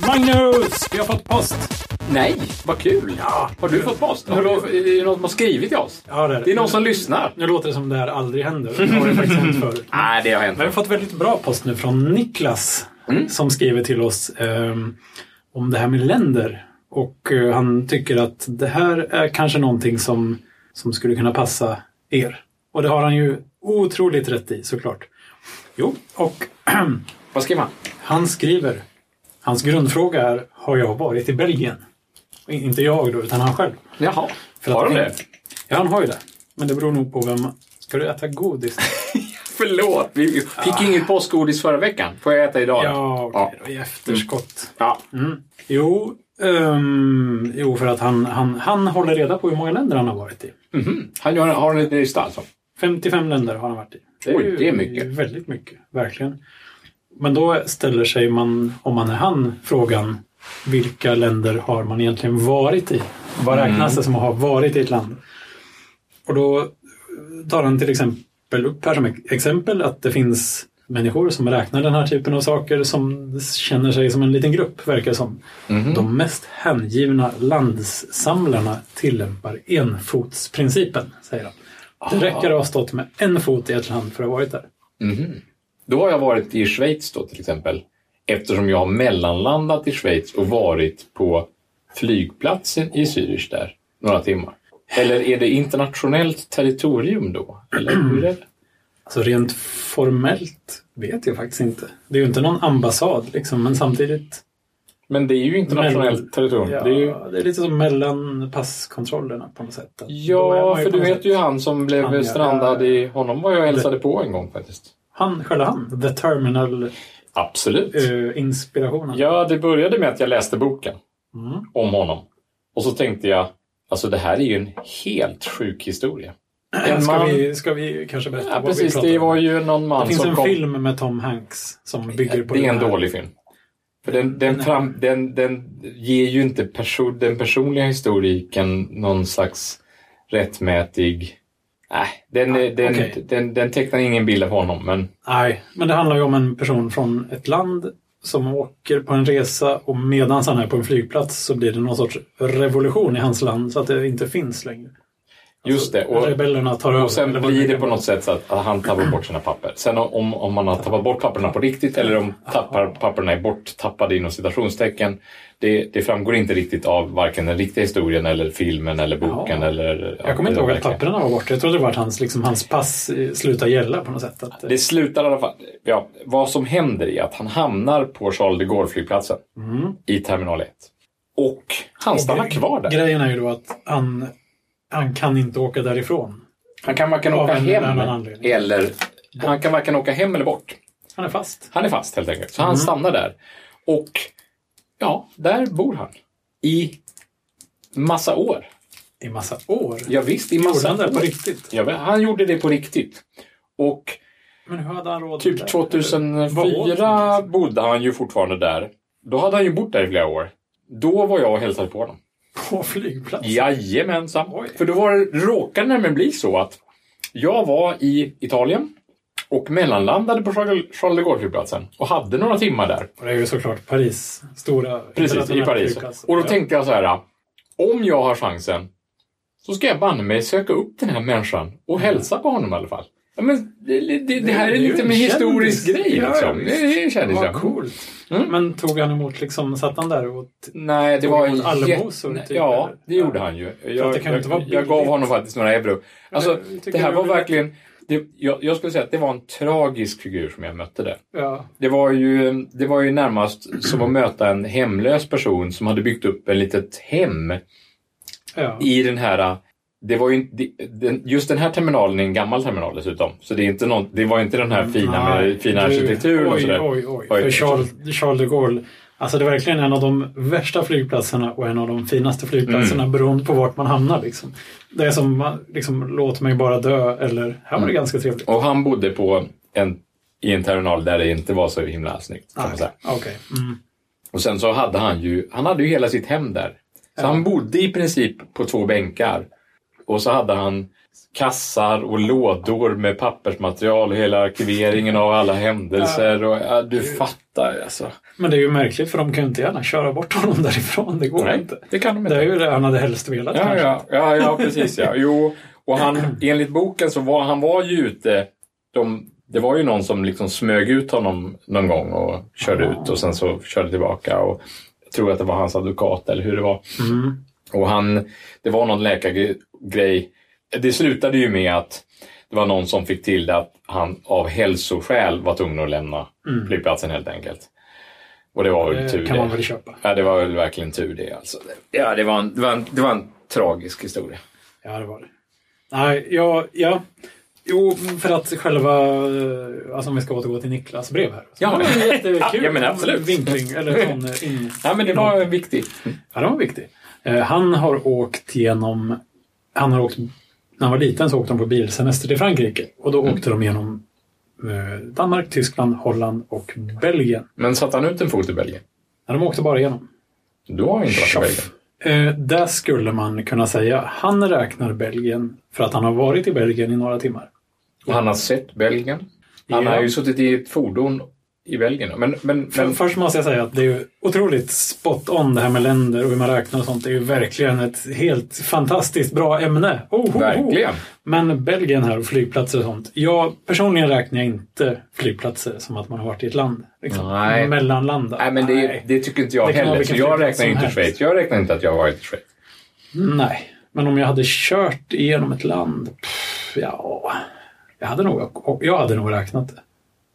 Breaking news! Vi har fått post. Nej, vad kul! Ja. Har du fått post? Har du, är det någon som har skrivit till oss? Ja, det är det. Det är någon som lyssnar. Nu låter det som det här aldrig händer. Det har ju faktiskt hänt förut. Nej, det har hänt. Men vi har fått väldigt bra post nu från Niklas som skriver till oss ehm, om det här med länder. Och eh, han tycker att det här är kanske någonting som, som skulle kunna passa er. Och det har han ju otroligt rätt i såklart. Jo, och Vad skriver han? han skriver. Hans grundfråga är, har jag varit i Belgien? Inte jag då, utan han själv. Jaha. För att har de han- det? Ja, han har ju det. Men det beror nog på vem... Ska du äta godis? Förlåt! Vi vi fick ju inget påskgodis förra veckan. Får jag äta idag? Ja, okej Ja. då. I efterskott. ja. Jo, ehm, jo för att han, han, han håller reda på hur många länder han har varit i. Han gör, Mhm. har en liten lista alltså. 55 länder har han varit i. Oj, ju det är mycket. Väldigt mycket, verkligen. Men då ställer sig man, om man är han, frågan vilka länder har man egentligen varit i? Vad Mm. räknas det som att ha varit i ett land? Och då tar han till exempel upp här som ex- exempel att det finns människor som räknar den här typen av saker som känner sig som en liten grupp, verkar som. Mhm. De mest hängivna landssamlarna tillämpar enfotsprincipen, säger han. Ah. Det räcker att ha stått med en fot i ett land för att ha varit där. Då har jag varit i Schweiz då till exempel. Eftersom jag har mellanlandat i Schweiz och varit på flygplatsen i Zürich där några timmar. Eller är det internationellt territorium då? Eller hur är det? Alltså rent formellt vet jag faktiskt inte. Det är ju inte någon ambassad liksom, men samtidigt. Men det är ju internationellt Men- territorium. Ja, Det är ju... lite som mellan passkontrollerna på något sätt. Att då är Ja, man för på du något vet sätt- ju han som blev Han, ja. strandad i... Honom var jag och hälsade på en gång faktiskt. Han, själva han, The Terminal-inspirationen. Absolut. Eh. Ja, det började med att jag läste boken Mm. om honom. Och så tänkte jag, alltså det här är ju en helt sjuk historia. En ska, man... vi, ska vi kanske berätta Ja, vad vi precis. pratar Det om? var ju någon man det finns som en kom... film med Tom Hanks som bygger på det är den en här. dålig film. För den, den, fram, den, den ger ju inte perso- den personliga historiken någon slags rättmätig... Nej, den, är- den, okej. Alltså, den, den tecknar ingen bild av honom, men... Nej, men det handlar ju om en person från ett land som åker på en resa och medan han är på en flygplats så blir det någon sorts revolution i hans land så att det inte finns längre. Just det. Och, Rebellerna tar över. Och sen alltså, eller vad blir kan det på vara. något sätt så att att han tappar bort sina papper. Sen om- om, om man har tappat bort papperna på riktigt eller om tappar, papperna är borttappade inom citationstecken. Det, det framgår inte riktigt av varken den riktiga historien eller filmen eller boken. Ja. Eller, Jag kommer inte eller ihåg att verkligen. papperna var borta. Jag trodde det var att hans, liksom, hans pass eh, slutade gälla på något sätt. Att, eh, Det slutar i alla fall... Ja, vad som händer är att han hamnar på Charles de Gaulle-flygplatsen Mm. i terminal 1. Och han stannar kvar där. Grejen är ju då att han, han kan inte åka därifrån. Han kan varken Av åka en hem annan anledning. eller... Han kan varken åka hem eller bort. Han är fast. Han är fast helt enkelt. Så han Mm. stannar där. Och ja, där bor han. I massa år. I massa år. Ja, visst, i Gjorde massa han det år. på riktigt? Ja, men han gjorde det på riktigt. Och Men hur hade han råd med typ det? Vad åt 2004 han? bodde han ju fortfarande där. Då hade han ju bott där i flera år. Då var jag och hälsade på honom. På flygplatsen? Jajamensan. För då var, det- råkade det nämligen bli så att jag var i Italien och mellanlandade på Charles Charles de Gaulle-flygplatsen och hade några timmar där. Och det är ju såklart Paris stora Precis, i internationella Paris. flygplats. Och då Ja. tänkte jag så här. Om jag har chansen så ska jag banne mig söka upp den här människan och hälsa på honom i alla fall. Ja, men det, det, det här är Det är ju lite en mer historisk kändis. grej. Ja, Liksom. visst. Det är kändis. ja. Vad coolt. Mm. Men tog han emot liksom, satt han där och... Nej, det Tog var emot en allmosor, jätte- typ, Ja, eller? det gjorde han ju. Jag, det kan ju inte vara jag, jag gav billigt. honom faktiskt några euro. Alltså, Men jag det, tycker här det var blir- verkligen... Det, jag, jag skulle säga att det var en tragisk figur som jag mötte där. Ja. Det var, ju, det var ju närmast som att möta en hemlös person som hade byggt upp ett litet hem ja. i den här... Det var ju, inte- det- den, just den här terminalen är en gammal terminal dessutom. Så det, är inte någon, det var inte den här fina, med, Nej, fina du, arkitekturen och Oj, sådär. oj, oj. För Charles, Charles de Gaulle. Alltså det är verkligen en av de värsta flygplatserna och en av de finaste flygplatserna Mm. beroende på vart man hamnar. Liksom. Det är som man- liksom, låt mig bara dö eller här var Mm. det ganska trevligt. Och han bodde på en, i en terminal där det inte var så himla snyggt. Kan man säga. Okej. Mm. Och sen så hade han ju, han hade ju hela sitt hem där. Så han bodde i princip på två bänkar. Och så hade han kassar och lådor med pappersmaterial, hela arkiveringen av alla händelser. Och, ja, du fattar alltså. Men det är ju märkligt för de kan ju inte gärna köra bort honom därifrån. Det går Nej, inte. det kan de Det inte. är ju det han hade helst velat Ja, kanske. ja, ja, ja precis. Ja. Jo, och han, enligt boken så var han var ju ute. De, det var ju någon som liksom smög ut honom någon gång och körde ut och sen så körde tillbaka. Och jag tror att det var hans advokat eller hur det var. Mm. Och han, det var någon läkargrej. Det slutade ju med att det var någon som fick till det att han av hälsoskäl var tvungen att lämna Mm. flygplatsen helt enkelt. Och det var väl tur Det kan man det. väl köpa. Ja, det var väl verkligen tur det. Alltså. Ja, det var, en, det, var en, det var en tragisk historia. Ja, det var det. Nej, ja, ja. Jo, för att själva... eh, Alltså om vi ska återgå till Niklas brev här. Ja. Det var jättekul. Ja, men absolut. Vinkling, eller sån eh, in... Ja, men det var viktigt. Ja, den var viktig. Eh, Han har åkt genom... Han har åkt... När han var liten så åkte de på bilsemester till Frankrike. Och Mm. då åkte de genom eh, Danmark, Tyskland, Holland och Belgien. Men satte han ut en fot i Belgien? Nej, de åkte bara igenom. Du har ju inte varit i Tjoff. Belgien. Eh, där skulle man kunna säga han räknar Belgien för att han har varit i Belgien i några timmar. Och han har sett Belgien. Han Ja. har ju suttit i ett fordon i Belgien. Men, men, Men men först måste jag säga att det är ju otroligt spot on det här med länder och hur man räknar och sånt. Det är ju verkligen ett helt fantastiskt bra ämne. Oh, ho, ho. verkligen. Men Belgien här och flygplatser och sånt. Jag personligen räknar jag inte flygplatser som att man har varit i ett land. Liksom. Nej. Mellanlanda. Nej, men det, Nej. det tycker inte jag Det kan vara heller. Så vilken jag flygplats räknar som ju inte helst. Schweiz. Jag räknar inte att jag har varit i Schweiz. Nej. Men om jag hade kört igenom ett land. Pff, ja. Jag hade nog, jag hade nog räknat det.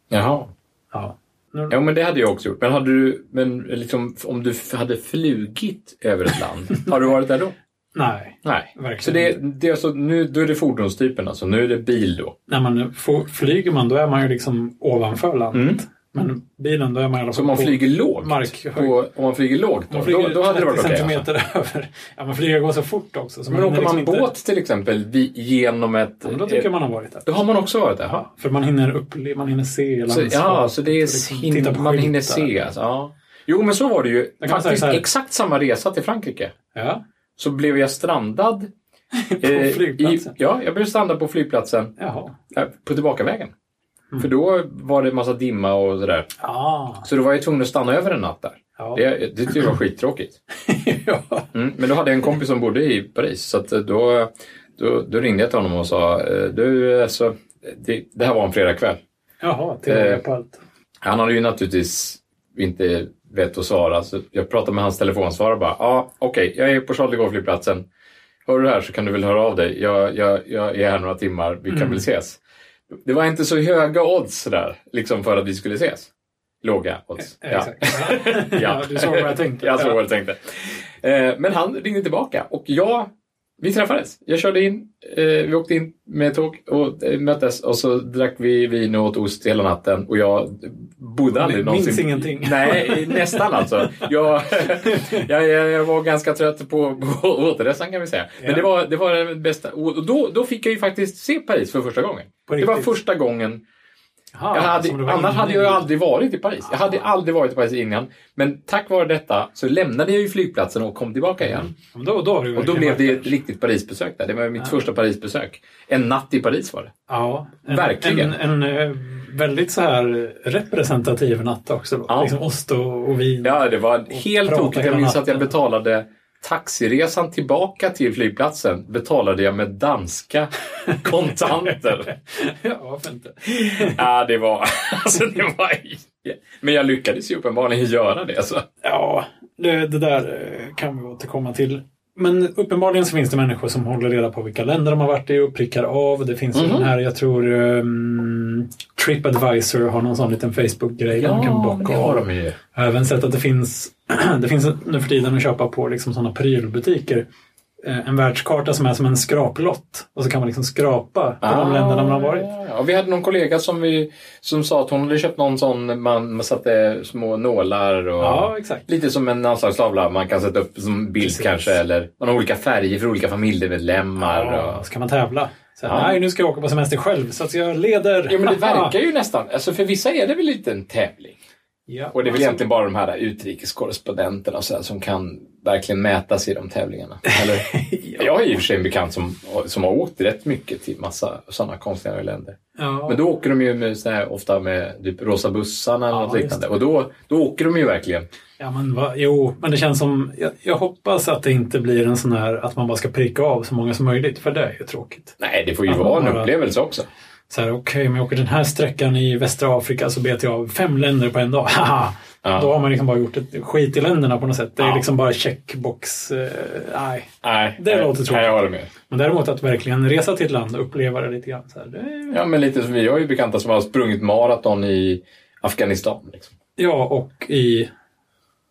Jaha. Ja. Nu, Ja, men det hade jag också gjort. Men, hade du, men liksom, om du f- hade flugit över ett land, har du varit där då? Nej. Nej. Verkligen Så det, det är alltså, nu, då är det fordonstypen alltså. Nu är det bil då. När man får, flyger man då är man ju liksom ovanför landet. Men bilen då är man i alla fall Mm. Så om man på- flyger lågt, markhöjd. på, om man flyger lågt då, man flyger då, då hade det varit 30 okej. alltså. centimeter över. Ja, man flyger går så fort också. Så Men hinner åker man liksom båt till exempel vi, genom ett... Inte, men då tycker jag ett- man har varit där. då har man också varit där? Ja, för man hinner, upple- man hinner se Så, landskapet. ja, så det och är liksom titta hin- på man hinner skyltar. se. Alltså, ja. Jo, men så var det ju. man säga Faktiskt så här. exakt samma resa till Frankrike. Ja, Så blev jag strandad. på eh, flygplatsen. I, ja, jag blev strandad på flygplatsen Jaha. eh, på tillbakavägen. Mm. För då var det massa dimma och sådär. Ah, Så då var jag tvungen att stanna över en natt där. ja. Det, det tyckte jag var skittråkigt. ja. Mm, men då hade jag en kompis som bodde i Paris så att eh, då, då, då ringde jag till honom och sa eh, du, alltså, det, det här var en fredagkväll. Jaha, tillbaka Eh, på allt. Han hade ju naturligtvis inte vett att svara så jag pratade med hans telefonsvarare bara ja ah, okej jag är på Charles de Gaulle flygplatsen. Hör du det här så kan du väl höra av dig. Jag, jag, jag är här några timmar, vi kan Mm. väl ses. Det var inte så höga odds där, liksom för att vi skulle ses. Låga odds. Eh, exakt. Ja. du såg vad jag tänkte. jag såg vad du tänkte. Eh, Men han ringde tillbaka och jag, vi träffades. Jag körde in, eh, vi åkte in med tåg och eh, möttes och så drack vi vin och åt ost hela natten och jag bodde aldrig Minns någonsin. ingenting. Nej, nästan alltså. Jag, jag, jag jag var ganska trött på, på återresan kan vi säga. Men Ja. det var, det var det bästa. Och då, då fick jag ju faktiskt se Paris för första gången. På Det var riktigt? första gången Jaha, jag hade, som du var annars inne hade jag i. aldrig varit i Paris. Jag hade aldrig varit i Paris innan. Men tack vare detta så lämnade jag ju flygplatsen och kom tillbaka igen. Ja, men Då, då, har du Och då verkligen blev varit det där. ett riktigt Parisbesök där. Det var mitt första Parisbesök. En natt i Paris var det. Ja, en, Verkligen. En, en eh, väldigt så här representativ natt också. Då. Ja. Liksom ost och, Mm. och vin. Ja, det var helt prata tokigt. Jag hela minns att jag natten. betalade taxiresan tillbaka till flygplatsen betalade jag med danska kontanter. ja, varför inte? ja, det var... Alltså, det var... Men jag lyckades ju uppenbarligen göra det. Så. Ja, det, det där eh, kan vi återkomma till. Men uppenbarligen så finns det människor som håller reda på vilka länder de har varit i och prickar av. Det Mhm. finns ju den här, jag tror um, Tripadvisor har någon sån liten Facebook-grej där man kan bocka av. ju. Jag har även sett att det finns, det finns nu för tiden att köpa på liksom sådana prylbutiker. eh, En världskarta som är som en skraplott. Och så kan man liksom skrapa på de länderna man har varit. Ah. Ja, ja. vi hade någon kollega som, vi, som sa att hon hade köpt någon sån man, man satte små nålar och Ja, exakt. lite som en anslagstavla man kan sätta upp som bild Precis. kanske eller man har olika färger för olika familjemedlemmar. Ja, Och... så kan man tävla. Så, Ja. Nej, nu ska jag åka på semester själv så att jag leder. Ja men det verkar ju nästan, alltså för vissa är det väl lite en tävling. Ja. Och det är väl Alltså, egentligen bara de här utrikeskorrespondenterna och så här, som kan verkligen mätas i de tävlingarna. Eller? Jag har i och för sig en bekant som, som har åkt rätt mycket till massa sådana konstiga länder. ja. Men då åker de ju med, så här, ofta med typ rosa bussarna eller Ja, något liknande. Och då, då åker de ju verkligen. Ja, men va, jo, men det känns som... Jag, jag hoppas att det inte blir en sån här att man bara ska pricka av så många som möjligt, för det är ju tråkigt. Nej, det får ju Ja, vara en bara- upplevelse också. Så här, okej, men jag åker den här sträckan i västra Afrika så betar jag av fem länder på en dag. Haha! Ja. Då har man liksom bara gjort ett skit i länderna på något sätt. Det är Ja. liksom bara checkbox. Eh, nej. Nej, Det nej, låter tråkigt. Nej, jag håller med. Men däremot att verkligen resa till ett land och uppleva det lite grann. Så här, det är, Ja, men lite som vi har ju bekanta som har sprungit maraton i Afghanistan. Liksom. ja, och i,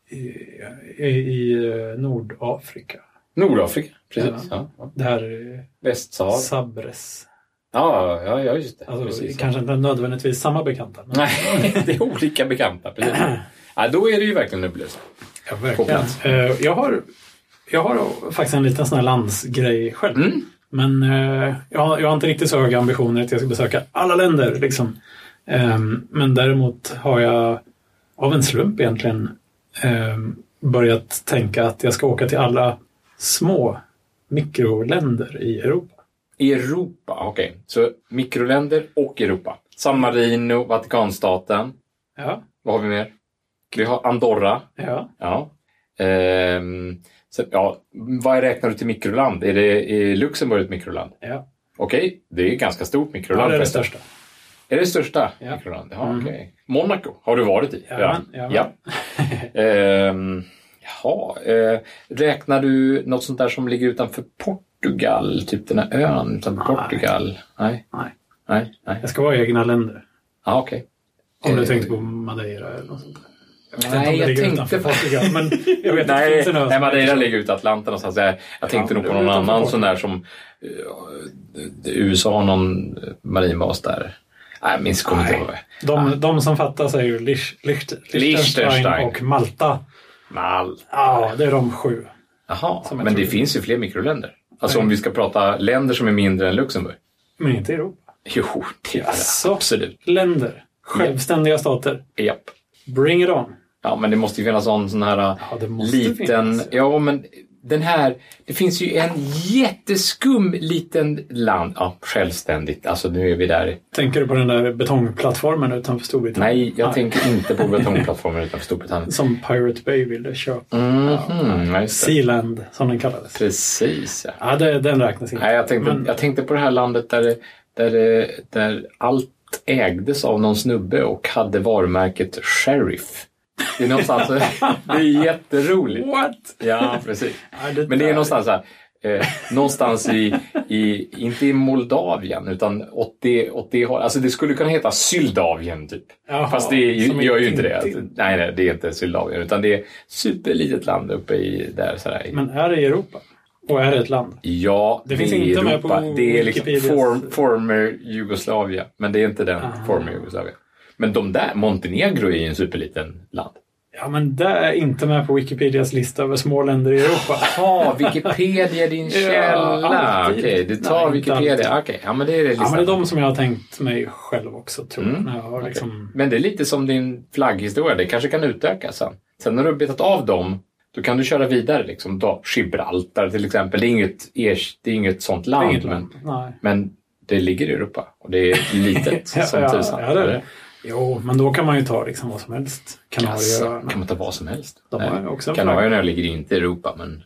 i, i, i eh, Nordafrika. Nordafrika, precis. Ja. Ja. Det här eh, Västsahara. Sabres. Ja, ja, ja, just det. Alltså, precis. kanske inte nödvändigtvis samma bekanta. Men... Nej, det är olika bekanta. Precis. Ja, då är det ju verkligen en upplevelse. Ja, På verkligen. plats. Eh, Jag har, jag har faktiskt en liten sån här landsgrej själv. Mm. Men eh, jag, har- jag har inte riktigt så höga ambitioner att jag ska besöka alla länder. Liksom. Ehm, men däremot har jag av en slump egentligen ehm, börjat tänka att jag ska åka till alla små mikroländer i Europa. Europa, okej. Så mikroländer och Europa. San Marino, Vatikanstaten. Ja, Vad har vi mer? Vi har Andorra. ja. Ja. Ehm, så, ja. Vad räknar du till mikroland? Är det är Luxemburg ett mikroland? ja. Okej, det är ett ganska stort mikroland. ja det är det förresten. största. Är det största Ja. mikroland? Ja, Mm. okej. Monaco har du varit i? Jajamän, ja. jajamän. Ehm, jaha, eh, räknar du något sånt där som ligger utanför Portugal? Typ den här ön utanför Nej. Portugal? Nej, Nej, nej, nej. jag ska vara i egna länder. Ja, okej. Om du Eh, tänkte på Madeira eller något sånt. Jag vet inte om Nej, det jag ligger tänkte utanför på... Portugal, men jag vet att det Nej, finns en ö nej, som Madeira ligger ute i Atlanten någonstans. Jag, jag tänkte Ja, nog på det är någon utanför annan Portugal. sån där som... eh, USA har någon eh, marinbas där. Nej, jag minns kommer inte Nej. ihåg. det. De, de som fattas är ju Lich- Licht- Liechtenstein Liechtenstein. och Malta. Mal. Ja, det är de sju. Jaha, Som jag men det trodde. finns ju fler mikroländer. Alltså Nej. om vi ska prata länder som är mindre än Luxemburg. Men inte Europa. Jo, det är det. Jaså? Absolut. Länder. Självständiga stater. Japp. Bring it on. Ja, men det måste ju finnas någon sån här eh, Ja, det måste liten... finnas. Ja, men den här... Det finns ju en jätteskum liten land. Ja, självständigt. Alltså nu är vi där. Tänker du på den där betongplattformen utanför Storbritannien? Nej, jag tänker inte på betongplattformen utanför Storbritannien. Som Pirate Bay ville köpa. Mhm, ja, just det. Sealand, som den kallades. Precis, ja. Ja, det, den räknas inte. Nej, jag tänkte, Men- jag tänkte på det här landet där, det- där, det- där allt ägdes av någon snubbe och hade varumärket Sheriff. Det är någonstans... det är jätteroligt. What? Ja, precis. Ja, det Men det är där- någonstans så här, eh, någonstans i, i, inte i Moldavien, utan åt det, åt det hållet. Alltså det skulle kunna heta Syldavien typ. Jaha, Fast det är som ju, gör ju inte det. Alltså, Tintin. Nej, nej, det är inte Syldavien. Utan det är superlitet land uppe i där. Så där. Men är det i Europa? Och är det ett land? Ja, det, Det finns är inte med Europa. på det är liksom Wikipedias- form, former Jugoslavia. Men det är inte den Ah. former Jugoslavia. Men de där, Montenegro är ju en superliten land. Ja, men det är inte med på Wikipedias lista över små länder i Europa. Ja, Wikipedia är din Ja, källa. alltid. Okej, du tar Nej, inte alltid. Wikipedia. Okej, ja men det är det Ja, men listan. det är de som jag har tänkt mig själv också, tror jag. Mm. När jag har liksom... Men det är lite som din flagghistoria, det kanske kan utökas sen. Sen när du har betat av dem, då kan du köra vidare. Liksom. Då, Gibraltar till exempel, det är inget, er- det är inget sånt land. Inget men, land. Nej. men det ligger i Europa och det är litet Ja, som ja, tusan. ja, det är det. Jo, men då kan man ju ta liksom vad som helst. Alltså, Kanarieöarna. kan man ta vad som helst? De har ju Eh, också en flagga. Kanarierna ligger inte i Europa, men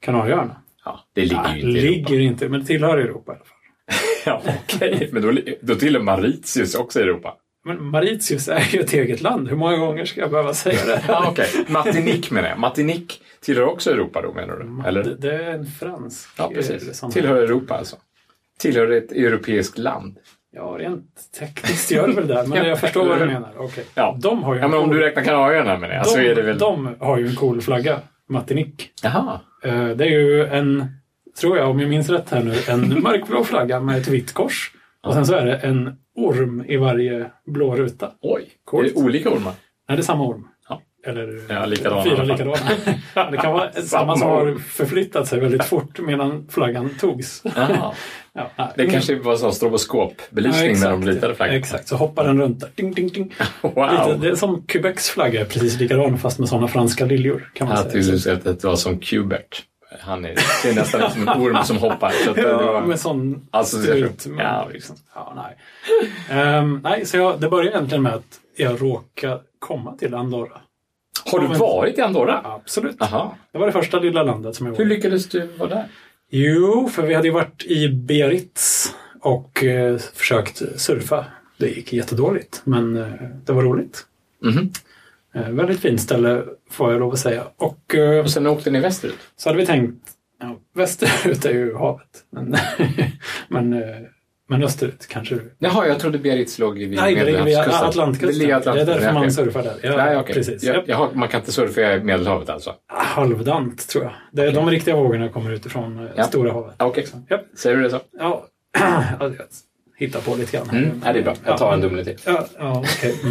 Kanarieöarna? ja, det ligger Ja, ju inte i Europa. ligger inte, men det tillhör Europa i alla fall. Ja, okej. Men då, li- då tillhör Mauritius också i Europa. Men Mauritius är ju ett eget land. Hur många gånger ska jag behöva säga det? Ja, okej. Martinique menar jag. Martinique tillhör också Europa då, menar du? Det, Eller? det är en fransk... Ja, eh, precis. sån här- Tillhör Europa alltså. Tillhör ett europeiskt land. Ja, rent tekniskt gör det väl det, men Ja. jag förstår vad du menar. Okej. Ja. De har ju Ja, men om du räknar Kanarierna med det, så de, är det väl... de har ju en cool flagga, Martinique. Jaha. Eh, Det är ju en, tror jag om jag minns rätt här nu, en mörkblå flagga med ett vitt kors. Och sen så är det en orm i varje blå ruta. Oj. Coolt. Är det olika ormar? Nej, det är samma orm. Ja. eller Ja, likadana. fyra likadana. Det kan vara samma som har förflyttat sig väldigt fort medan flaggan togs. Jaha. Ja, nej. Det kanske var sån Ja, stroboskopbelysning när de ritade flaggan. Exakt, så hoppar den runt där. Ding, ding, ding. Wow! Lite, det är som Quebecs flagga, är precis likadan fast med sådana franska liljor. Kan man Jag säga. tyckte du skulle säga att det var som Qbert. Han är, det är nästan ut som en orm som hoppar. Så att det Ja, var, med sån Alltså, det är strut. sjukt. men- Ja, liksom. ja, nej. Ehm, nej, så jag, det börjar egentligen med att jag råkar komma till Andorra. har du varit i Andorra? Absolut. Aha. Det var det första lilla landet som jag var Hur i. lyckades du vara där? Jo, för vi hade ju varit i Biarritz och eh, försökt surfa. Det gick jättedåligt, men eh, det var roligt. Mhm. Eh, väldigt fint ställe, får jag lov att säga. Och eh, Och sen åkte ni västerut? så hade vi tänkt, ja, västerut är ju havet, men, men, eh, men österut kanske. Jaha, jag trodde Biarritz låg vid Nej, det ligger vid Medelhavskusten. Atlantkusten. ligger i Det är Atlantkusten, därför ja, man okej. surfar där. Ja, Nej, okej. precis. Ja, Ja. Jaha, man kan inte surfa i Medelhavet alltså? Halvdant, tror jag. Det är de riktiga vågorna kommer utifrån eh, Ja. stora havet. Ja, Okej, Ja. säger du det så? Ja, alltså, jag hittar på lite grann. Mm. Ja, det är bra. Jag tar en dumle till. Ja, ja okej.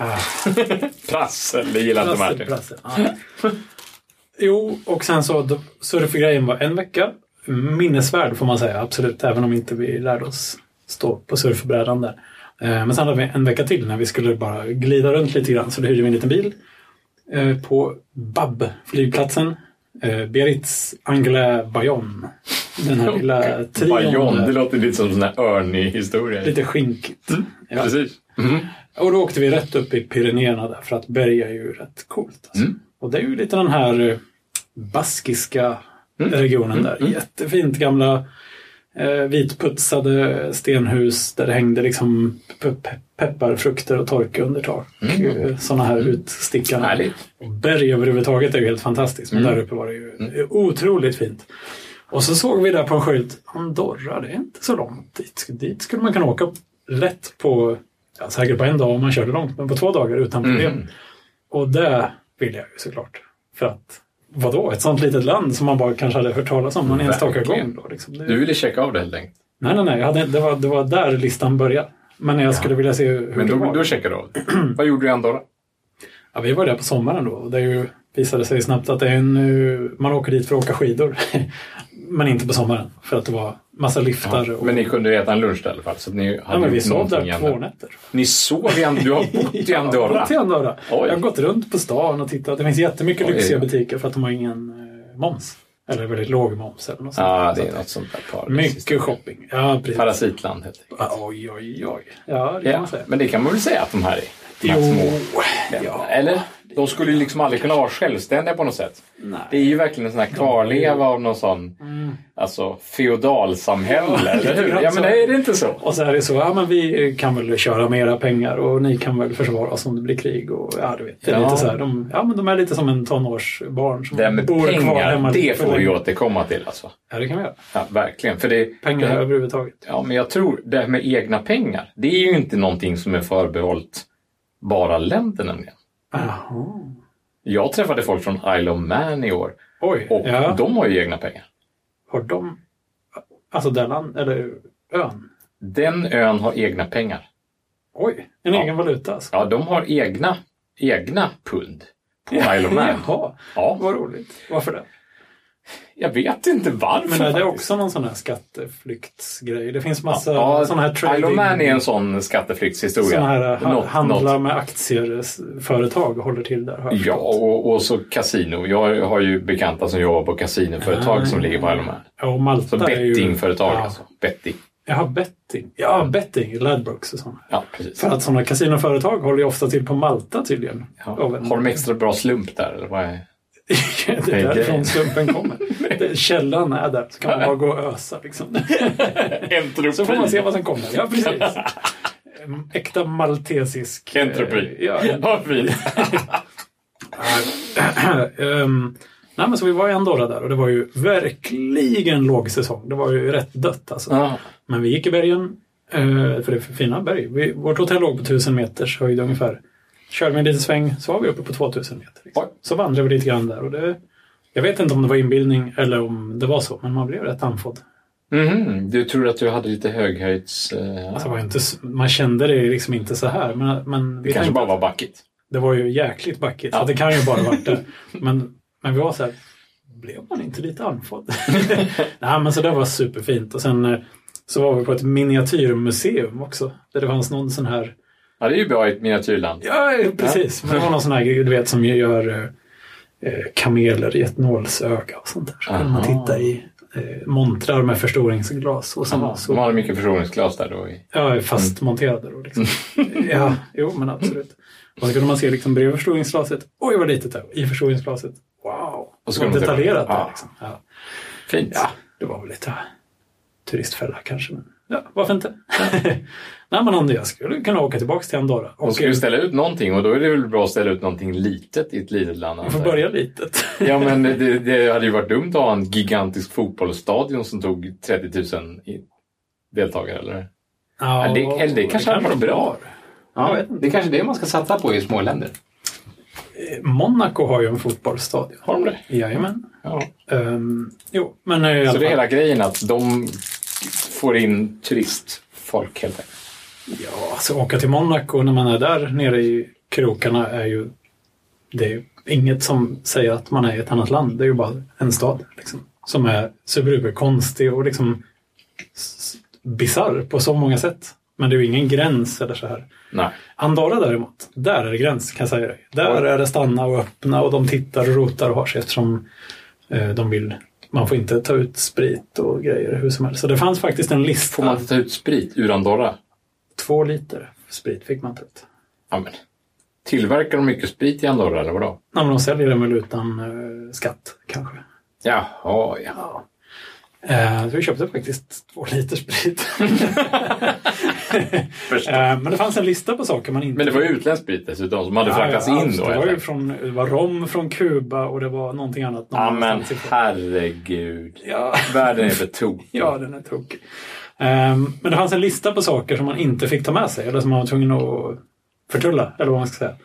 Mm. Ah, Prassel, det gillar inte prassel, Martin. prassel. Ja. Jo, och sen så då- surfgrejen var en vecka. Minnesvärd får man säga, absolut. Även om inte vi lärde oss stå på surfbrädan där. Eh, Men sen hade vi en vecka till när vi skulle bara glida runt lite grann. Så då hyrde vi en liten bil eh, på Bab, flygplatsen. Eh, Biarritz, Angla, Bayonne. Den här lilla trion. Bajon, det där. låter lite som en sån här örnhistoria. Lite skinkigt. Ja. Precis. Mhm. Och då åkte vi rätt upp i Pyrenéerna där, för att berg är ju rätt coolt. Alltså. Mm. Och det är ju lite den här eh, baskiska Mm. regionen där. Jättefint gamla eh, vitputsade stenhus där det hängde liksom pe- pe- pepparfrukter och torka under tak. Mm. Sådana här utstickare. Härligt. Och berg överhuvudtaget är ju helt fantastiskt, Mm. men där uppe var det ju otroligt fint. Och så såg vi där på en skylt, Andorra, det är inte så långt dit. Dit skulle man kunna åka lätt på, ja, säkert på en dag om man körde långt, men på två dagar utan problem. Mm. Och det vill jag ju såklart. För att, vadå, ett sånt litet land som man bara kanske hade hört talas om någon enstaka Verkligen. gång. Då, liksom. det, Du ville checka av det helt enkelt. Nej, nej, nej, jag hade, det, var, det var där listan började. Men jag skulle vilja se hur Men det då, var. då checkade du av det. Vad gjorde du i Andorra? Ja, vi var där på sommaren då och det är ju, visade sig snabbt att det är en, eh, man åker dit för att åka skidor. Men inte på sommaren för att det var massa liftar. och, Men Mm, ni kunde äta en lunch där i alla fall. Så att ni hade ja, men vi gjort sov någonting i där två Andorra. nätter. Ni sov i Andorra? Du har bott i Andorra? Till Andorra. Oj. Jag har gått runt på stan och tittat. Det finns jättemycket Oj, lyxiga oj, oj. butiker för att de har ingen eh, moms. Eller väldigt låg moms. Eller något sånt. Ja, det Så är något sånt där att- par. mycket shopping. Ja, precis. Parasitland helt enkelt. Ja, Oj, oj, oj. Ja, det kan Ja, man säga. men det kan man väl säga att de här är. De här Jo, små. ja. Eller? De skulle ju liksom aldrig kunna vara självständiga på något sätt. Det är Nej. ju verkligen en sån här kvarleva av någon sån Mm. alltså, feodalsamhälle, eller hur? grann Ja, så. men är det inte så? Och så är det så, ja men vi kan väl köra med era pengar och ni kan väl försvara oss om det blir krig och ja du vet. Det är Ja. Lite så här, de, ja men de är lite som en tonårsbarn som Det här med bor kvar hemma. pengar, det lite för får vi länge. återkomma till alltså. Ja det kan vi göra. Ja, verkligen. För det, Pengar det, överhuvudtaget. Ja, men jag tror det här med egna pengar, det är ju inte någonting som är förbehållt bara länder nämligen. Jaha. Jag träffade folk från Isle of Man i år Oj, och ja. de har ju egna pengar. har de, alltså Dellan, eller ön? Den ön har egna pengar. Oj, en Ja. egen valuta alltså. Ja, de har egna, egna pund på Isle of Man. Jaha, Ja, vad roligt. Varför det? jag vet inte varför Men är det faktiskt. också någon sån här skatteflyktsgrej? Det finns massa Ja, sådana Alltså, här trading... Isle of Man är en sån skatteflyktshistoria. Sådana här eh, ha- Oh, Något- handlar något- med aktieföretag och håller till där. har jag Ja, förstått. och, och så kasino. Jag har ju bekanta som jobbar på kasinoföretag som ligger på Isle of Man. Ja, och Malta Så är ju... bettingföretag ja. alltså. Betting. Jag har betting. Ja, betting. Ladbrokes och sånt. Ja, precis. För att sådana kasinoföretag håller ju ofta till på Malta tydligen. Ja. Av en- Har de extra bra slump där? Eller vad är... det är Nej, därifrån grejen. slumpen kommer. Det- Källan är där, så kan man bara gå och ösa. Liksom. Entropi. Så får man se vad som kommer. Ja, precis. Em, Äkta maltesisk... eh, Entropi. Ja, en- Vad fint. Ehm, nej, men så vi var i Andorra där och det var ju verkligen låg säsong. Det var ju rätt dött alltså. Ja. Men vi gick i bergen, eh, för det är fina berg. Vi, vårt hotell låg på 1000 meters höjd ungefär. Körde vi en liten sväng så var vi uppe på 2000 meter. Liksom. Oj. Så vandrade vi lite grann där. Och det, jag vet inte om det var inbildning eller om det var så, men man blev rätt andfådd. Mhm, Du tror att du hade lite höghöjds... eh, Alltså, det var inte, s- man kände det liksom inte så här. Men, men vi det kanske tänkte- bara var backigt. Det var ju jäkligt backigt, så det kan ju bara varit det. Men, men vi var så här, blev man inte lite andfådd? Nej, men så det var superfint. Och sen eh, så var vi på ett miniatyrmuseum också, där det fanns någon sån här Ja, det är ju bra i ett miniatyrland. Ja, precis. Men det var någon sån här grej, du vet, som ju gör eh, kameler i ett nålsöga och sånt där. Så kunde man Aha. titta i eh, montrar med förstoringsglas och sånt. De Så, hade mycket förstoringsglas där då. i- ja, fastmonterade då liksom. ja, jo men absolut. Och så kunde man se liksom bredvid förstoringsglaset, oj vad litet det var. I förstoringsglaset, wow. Och Och så så kunde man titta. detaljerat det Ja. är, liksom. Ja. Fint. ja, det var väl lite eh, turistfälla kanske. Men ja, varför inte? Nej men om det, jag skulle kunna åka tillbaka till Andorra. De Och, ska ju ställa ut någonting och då är det väl bra att ställa ut någonting litet i ett litet land. man får antar jag. börja litet. Ja, men det, det hade ju varit dumt att ha en gigantisk fotbollsstadion som tog 30 000 i- deltagare, eller? Ja, Ja, det- eller det kanske hade varit bra. Jag vet det är kanske det man ska satsa på i små länder. Monaco har ju en fotbollsstadion. Har de det? Jajamän. Ja. Um, jo, men i alla Så fall. det är hela grejen att de får in turistfolk helt enkelt. Ja, alltså åka till Monaco när man är där nere i krokarna är ju... Det är ju inget som säger att man är i ett annat land. Det är ju bara en stad liksom, som är superduperkonstig och liksom s- bisarr på så många sätt. Men det är ju ingen gräns eller så här. Nej. Andorra däremot, där är det gräns kan jag säga dig. Där är det stanna och öppna och de tittar och rotar och har sig eftersom eh, de vill. Man får inte ta ut sprit och grejer hur som helst. Så det fanns faktiskt en lista. Får man inte ta ut sprit ur Andorra? Två liter sprit fick man ta ut. Ja, men. Tillverkar de mycket sprit i Andorra eller vadå? Nej, men de säljer den väl utan eh, skatt kanske. Jaha, ja. Eh, så vi köpte faktiskt två liter sprit. eh, men det fanns en lista på saker man inte Men det var ju utländsk sprit dessutom som hade fraktats Ja, ja, in allt. då. Det var, helt ju enkelt. från, det var rom från Kuba och det var någonting annat. någon Ja, men annanstans ifrån. herregud. Ja. Världen är för tokig. Ja, den är tokig. Ehm, men det fanns en lista på saker som man inte fick ta med sig eller som man var tvungen att förtulla, eller vad man ska säga.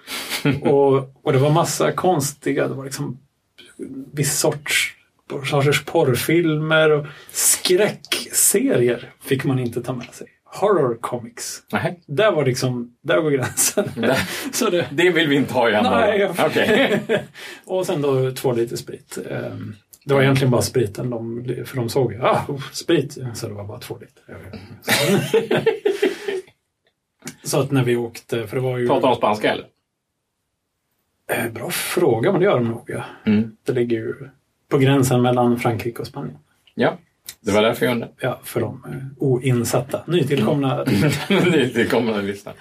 och, och det var massa konstiga, det var liksom viss sorts, sorters porrfilmer och skräckserier fick man inte ta med sig. Horror comics. Nej, Där var liksom, där går gränsen. Så det, det vill vi inte ha i Andorra. Nej, jag- Okej. och sen då två liter sprit. Ehm, Det var egentligen bara spriten, de, för de såg ju, ah, oh, sprit, så det var bara två liter. Så att när vi åkte, för det var ju... Pratar de spanska eller? Eh, Bra fråga, men det gör de nog ja. Mm. Det ligger ju på gränsen mellan Frankrike och Spanien. Ja, det var därför jag undrade. Ja, för de eh, oinsatta, nytillkomna. Ni- det kommer att lyssna.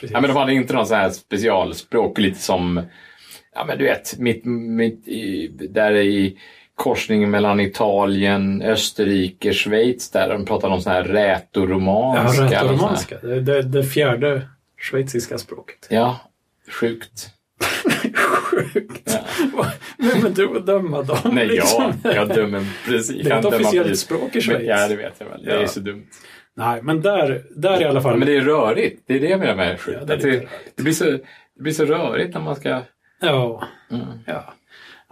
Precis. Ja, men de hade inte någon sån här specialspråk, lite som, ja men du vet, mitt, mitt i, där i korsningen mellan Italien, Österrike, Schweiz, där de pratade om sån här Jag har rätoromanska. rätt och sån här. romanska. Det, det, det fjärde schweiziska språket. Ja, sjukt. Sjukt! Vem är du att döma dem? Nej, liksom? jag, jag dömer precis. Det är ett jag dömer officiellt precis. språk i Men, Schweiz. ja, det vet jag väl. Det är Ja. så dumt. Nej, men där, där i alla fall. Men det är rörigt. Det är det jag menar med Ja, sjukt. det är Att lite det, det, blir så, det blir så rörigt när man ska... Ja. Mm. Ja.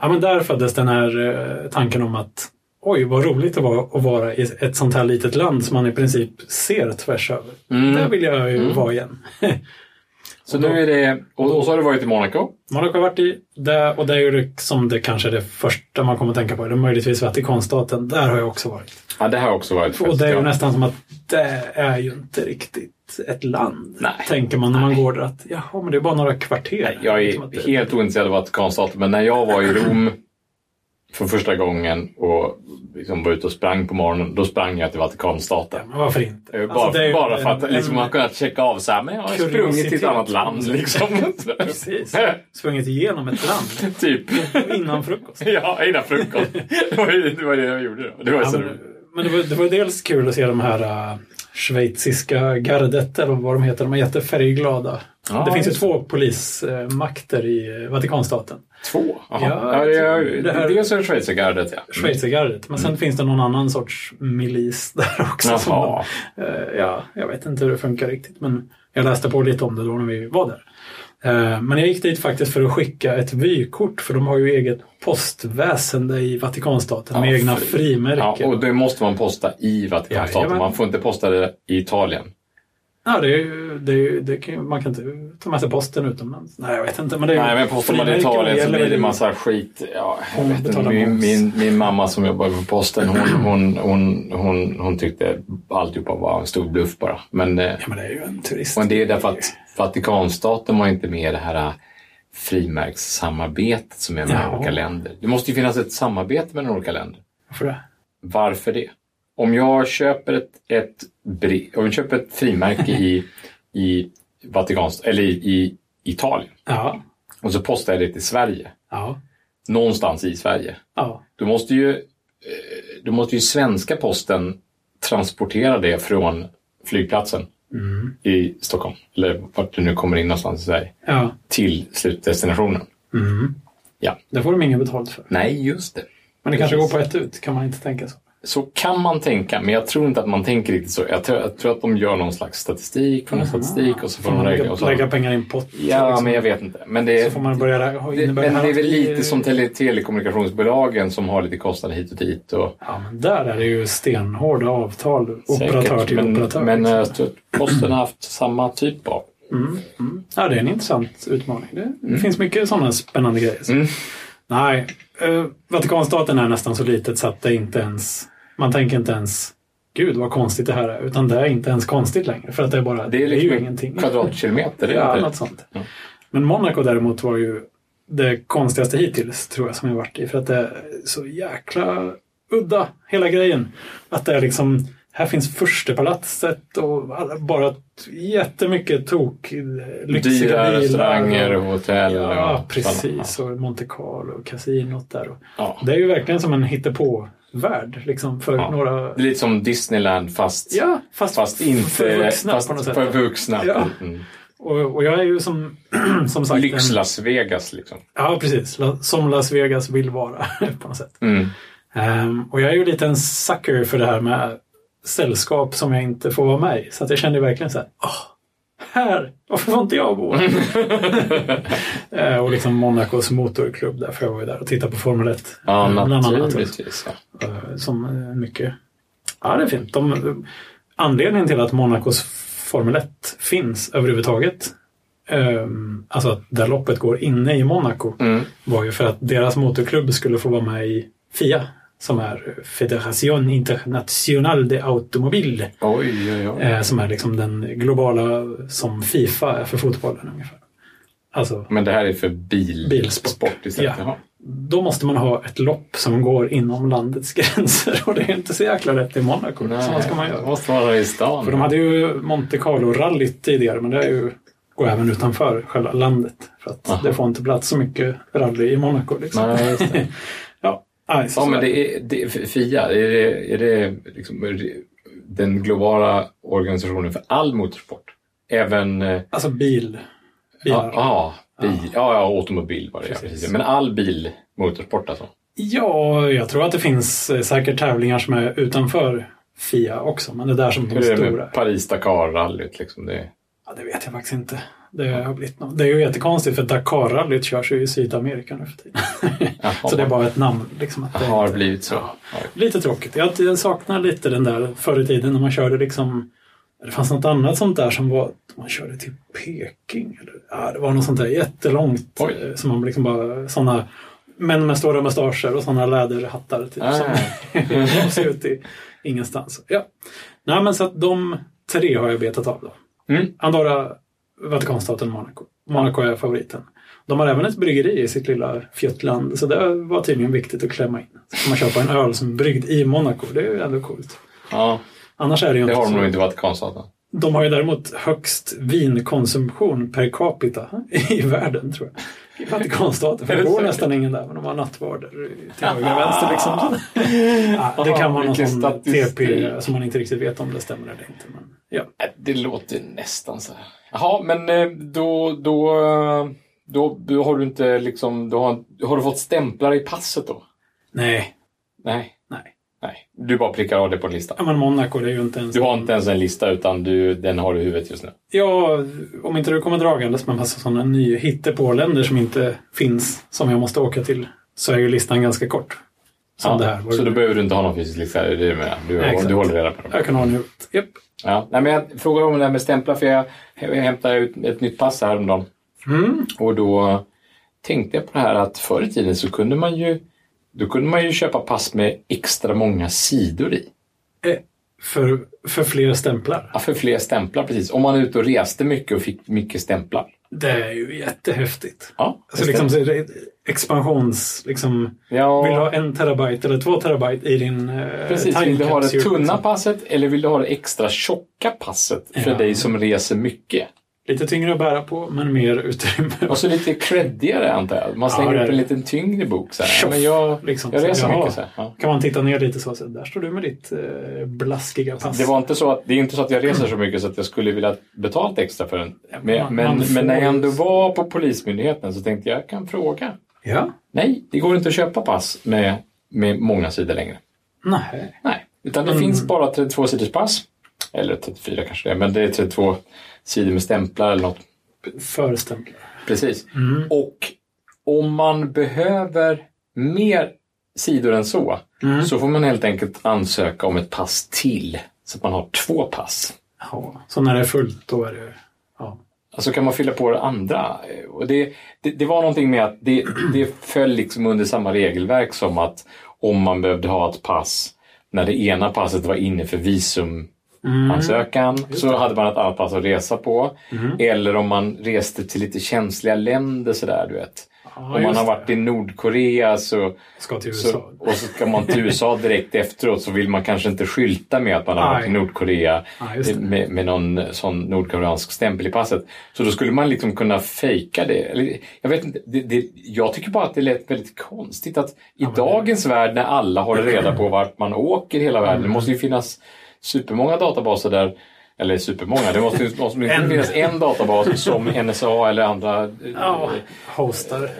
ja, men där föddes den här eh, tanken om att oj, vad roligt det var att vara i ett sånt här litet land som man i princip ser tvärs över. Mm. Där vill jag ju vara igen. Så nu är det... Och, och så har du varit i Monaco. Monaco har varit i det och det är ju liksom det kanske det första man kommer att tänka på. Eller möjligtvis Vatikanstaten. Där har jag också varit. Ja, det har jag också varit. Och faktiskt, det är ju ja. nästan som att det är ju inte riktigt ett land. Nej. Tänker man när man går där att jaha, men det är bara några kvarter. Jag Liksom att det- är helt ointresserad av Vatikanstaten, men när jag var i Rom för första gången och liksom var ute och sprang på morgonen, då sprang jag till Vatikanstaten. Ja, men varför inte? Eh, Bara, Alltså, det är ju bara för en- att liksom, man har en- kunnat checka av så här, men jag har sprungit till ett Kuriositet. annat land liksom. Precis. Sprungit igenom ett land typ. innan frukost. Ja, innan frukost. Det var ju det, var ju det jag gjorde då. Det var ju Ja, så men roligt. men det, var, det var dels kul att se de här äh, schweiziska gardet, eller vad de heter. De är jättefärgglada. Ja, det finns ju just Mm. två polismakter i eh, Vatikanstaten. Två? Jaha. Ja, Ja, det är, det här- Dels är det schweizergardet, ja. Mm. Schweizergardet. Men sen finns det någon annan sorts milis där också. som Jaha. de, eh, ja, jag vet inte hur det funkar riktigt, men jag läste på lite om det då när vi var där. Eh, Men jag gick dit faktiskt för att skicka ett vykort, för de har ju eget postväsende i Vatikanstaten med Ja, egna fri- frimärken. Ja, och det måste man posta i Vatikanstaten. Jajamän. Man får inte posta det i Italien. Ja, det är, ju- det är, ju- det kan, ju- man kan inte ta med sig posten utomlands. Nej, jag vet inte. Men det är ju- Nej, men postar man i frimärken Italien så gäller blir det väl- massa skit. Ja, jag Hon vet inte. betalar Min, moms. min, min mamma som jobbar på posten, hon, hon, hon, hon, hon tyckte alltihopa var en stor bluff bara. Men, eh, Ja, men det är ju en turist. och det är därför att Vatikanstaten var inte med i det här eh, frimärkssamarbetet som är med Ja. olika länder. Det måste ju finnas ett samarbete mellan olika länder. Varför det? Varför det? Om jag köper ett, ett, bre- om jag köper ett frimärke i, i, Vatikanst- eller i, i Italien Ja. och så postar jag det till Sverige, Ja. någonstans i Sverige, Ja. då måste ju, eh, då måste ju svenska posten transportera det från flygplatsen i Stockholm, eller vart du nu kommer in någonstans i Sverige, ja. till slutdestinationen. Mm. Ja. Det får de inget betalt för. Nej, just det. Men det kanske går på ett ut, kan man inte tänka så. Så kan man tänka, men jag tror inte att man tänker riktigt så. Jag tror, jag tror att de gör någon slags statistik, från en statistik och så får man räkna. lägga, Och så, lägga pengar i en pott. ja, liksom. men jag vet inte. Men det, Så får man börja... ha- det, men innebär här det är att väl vi- lite som tele, telekommunikationsbolagen som har lite kostnader hit och dit. Och, Ja, men där är det ju stenhårda avtal. Operatör Säkert, till men, operatör. Men liksom. eh, jag tror att posten har haft samma typ av. Mm, mm. Ja, det är en intressant utmaning. Det Mm. finns mycket sådana spännande grejer. så. Nej, eh, Vatikanstaten är nästan så litet så att det inte ens... Man tänker inte ens Gud vad konstigt det här är. Utan det är inte ens konstigt längre. För att det är bara... Det är, liksom ju en ingenting. kvadratkilometer. det är Ja, inte- något sånt. Mm. Men Monaco däremot var ju det konstigaste hittills tror jag som jag varit i. För att det är så jäkla udda, hela grejen. Att det är liksom, här finns furstepalatset och alla, bara t- jättemycket tok, lyxiga Dyra restauranger bilar. och och- hotell. och- Ja, precis. Och Monte Carlo och kasinot där. Och Ja. det är ju verkligen som en hittepå-värld liksom, för Ja. några... Det är lite som Disneyland fast, Ja, fast, fast inte... för vuxna fast på något sätt. För vuxna. Ja. Mm. Och, och jag är ju som, som sagt... en- Lyx-Las Vegas liksom. Ja, precis. La- Som Las Vegas vill vara på något sätt. Mm. Ehm, och jag är ju lite en sucker för det här med sällskap som jag inte får vara med i. Så att jag kände verkligen så här, åh, här, varför får inte jag bo? Mm. Ehm, och liksom Monacos motorklubb där, för jag var ju där och tittade på Formel 1. Ja, eh, bland annat. naturligtvis. Ja. Eh, som eh, mycket. Ja, det är fint. De, eh, anledningen till att Monacos Formel 1 finns överhuvudtaget, eh, alltså att där loppet går inne i Monaco, Mm. var ju för att deras motorklubb skulle få vara med i FIA, som är Federation Internationale de Automobile, Oj, oj, oj. eh, som är liksom den globala som Fifa är för fotbollen ungefär. Alltså, Men det här är för bil... Bilsport. sport istället. Ja. Jaha. då måste man ha ett lopp som går inom landets gränser och det är inte så jäkla rätt i Monaco. Så vad ska man göra? det måste vara i stan. För de hade ju Monte Carlo-rallyt tidigare, men det är ju, går även utanför själva landet. För att Aha. det får inte plats så mycket rally i Monaco. Liksom. Nej, just det. Ja, nej, så Ja, men sådär. det är, det, FIA, är det, är det liksom den globala organisationen för all motorsport? Även... eh, Alltså bil. Bilar. Ja, ja, bil, ja, ja, automobil var det. Ja, Precis. precis. Men all bil, motorsport alltså? Ja, jag tror att det finns eh, säkert tävlingar som är utanför FIA också, men det är där som de Hur är det stora med Paris-Dakar-rallyt? Liksom det, Ja, det vet jag faktiskt inte. Det, har blivit något. det är ju jättekonstigt för Dakar-rallyt körs ju i Sydamerika nu för tiden. Jaha. så det är bara ett namn. Liksom, att det har inte- blivit så. Ja. Ja. Lite tråkigt. Jag, jag saknar lite den där förr i tiden när man körde liksom det fanns något annat sånt där som var man körde till Peking. Eller, ja, det var något sånt där jättelångt. Oj. eh, Som man liksom bara, såna män med stora mustascher och såna läderhattar. Typ, Ah. Som gav sig ut i ingenstans. Ja. Nej, men så att de tre har jag betat av. Då. Mm. Andorra, Vatikanstaten, Monaco. Monaco är favoriten. De har även ett bryggeri i sitt lilla fjuttland, så det var tydligen viktigt att klämma in. Så kan man köpa en öl som är bryggd i Monaco, det är ju ändå coolt. Ja, Annars är det ju det inte har de så. nog inte i Vatikanstaten. De har ju däremot högst vinkonsumtion per capita i världen, tror jag. I Vatikanstaten, för Är det det bor säkert? nästan ingen där, men de har nattvarder till höger och vänster. Liksom. ja, det kan vara någon Vilken sån statistik. TP som man inte riktigt vet om det stämmer eller inte. Men, ja. Äh, Det låter nästan så här. Jaha, men eh, då, då, eh, då, då har du inte liksom, då har, har du fått stämplar i passet då? Nej, Nej, nej. nej. Du bara prickar av det på en lista. Ja, men Monaco, det är ju inte ens... Du har inte ens en lista utan du, den har du i huvudet just nu. Ja, om inte du kommer dragandes med massa sådana ny hittepåländer som inte finns, som jag måste åka till, så är ju listan ganska kort. Som det här. var så det. då behöver du inte ha någon fysisk lista. Det är det jag menar. Du, Nej, exakt. du håller reda på dem. Jag kan ha en i huvudet. Japp. Ja. Nej, men jag frågar om det här med stämpla för jag, jag hämtade ut ett nytt pass häromdagen. Mm. Och då tänkte jag på det här att förr i tiden så kunde man ju, då kunde man ju köpa pass med extra många sidor i. Eh, För, för fler stämplar. Ja, för fler stämplar precis. Om man är ute och reste mycket och fick mycket stämplar. Det är ju jättehäftigt. Ja, Alltså liksom, så är det expansions... Liksom, ja. Vill du ha en terabyte eller två terabyte i din eh, Precis, vill du ha det timecapsule, tunna liksom? passet eller vill du ha det extra tjocka passet för Ja. dig som reser mycket? Lite tyngre att bära på, men mer utrymme. Och så lite creddigare antar jag. Man slänger Ja, det är upp en det. liten tyngre bok. Så här. Ja, Tjoff, Men jag, liksom. jag reser Ja. mycket. Så här. Ja. kan man titta ner lite så. så där står du med ditt eh, blaskiga pass. Det, var inte så att, det är inte så att jag reser så mycket så att jag skulle vilja betala extra för den. man- Men, men, man får men när jag ju- ändå var på Polismyndigheten så tänkte jag, jag kan fråga. Ja. Nej, det går inte att köpa pass med, med många sidor längre. Nej. Nej, utan Mm. det finns bara 32 sidors pass. Eller 34 kanske det är, men det är 32 sidor med stämplar eller något. Förstämplar. Precis. Mm. Och om man behöver mer sidor än så, Mm. så får man helt enkelt ansöka om ett pass till. Så att man har två pass. Ja. Så när det är fullt, då är det... Ja. Alltså kan man fylla på det andra. Eh, Och det, det, det var någonting med att det, det föll liksom under samma regelverk som att om man behövde ha ett pass när det ena passet var inne för Mm. visumansökan så hade man ett annat pass att resa på. Eller om man reste till lite känsliga länder sådär du vet. om man just har det. varit i Nordkorea så, Ska till USA. så, och så ska man till USA direkt efteråt så vill man kanske inte skylta med att man har varit i Nej. Nordkorea Ja, just det. med, med någon sån nordkoreansk stämpel i passet. Så då skulle man liksom kunna fejka det. Eller, jag, vet inte, det, det. jag tycker bara att det lät väldigt konstigt att i dagens värld när alla håller reda på vart man åker i hela världen, det måste ju finnas supermånga databaser där eller supermånga, det måste ju måste ju En. finnas en databas som NSA eller andra eh, Ja. Hostar.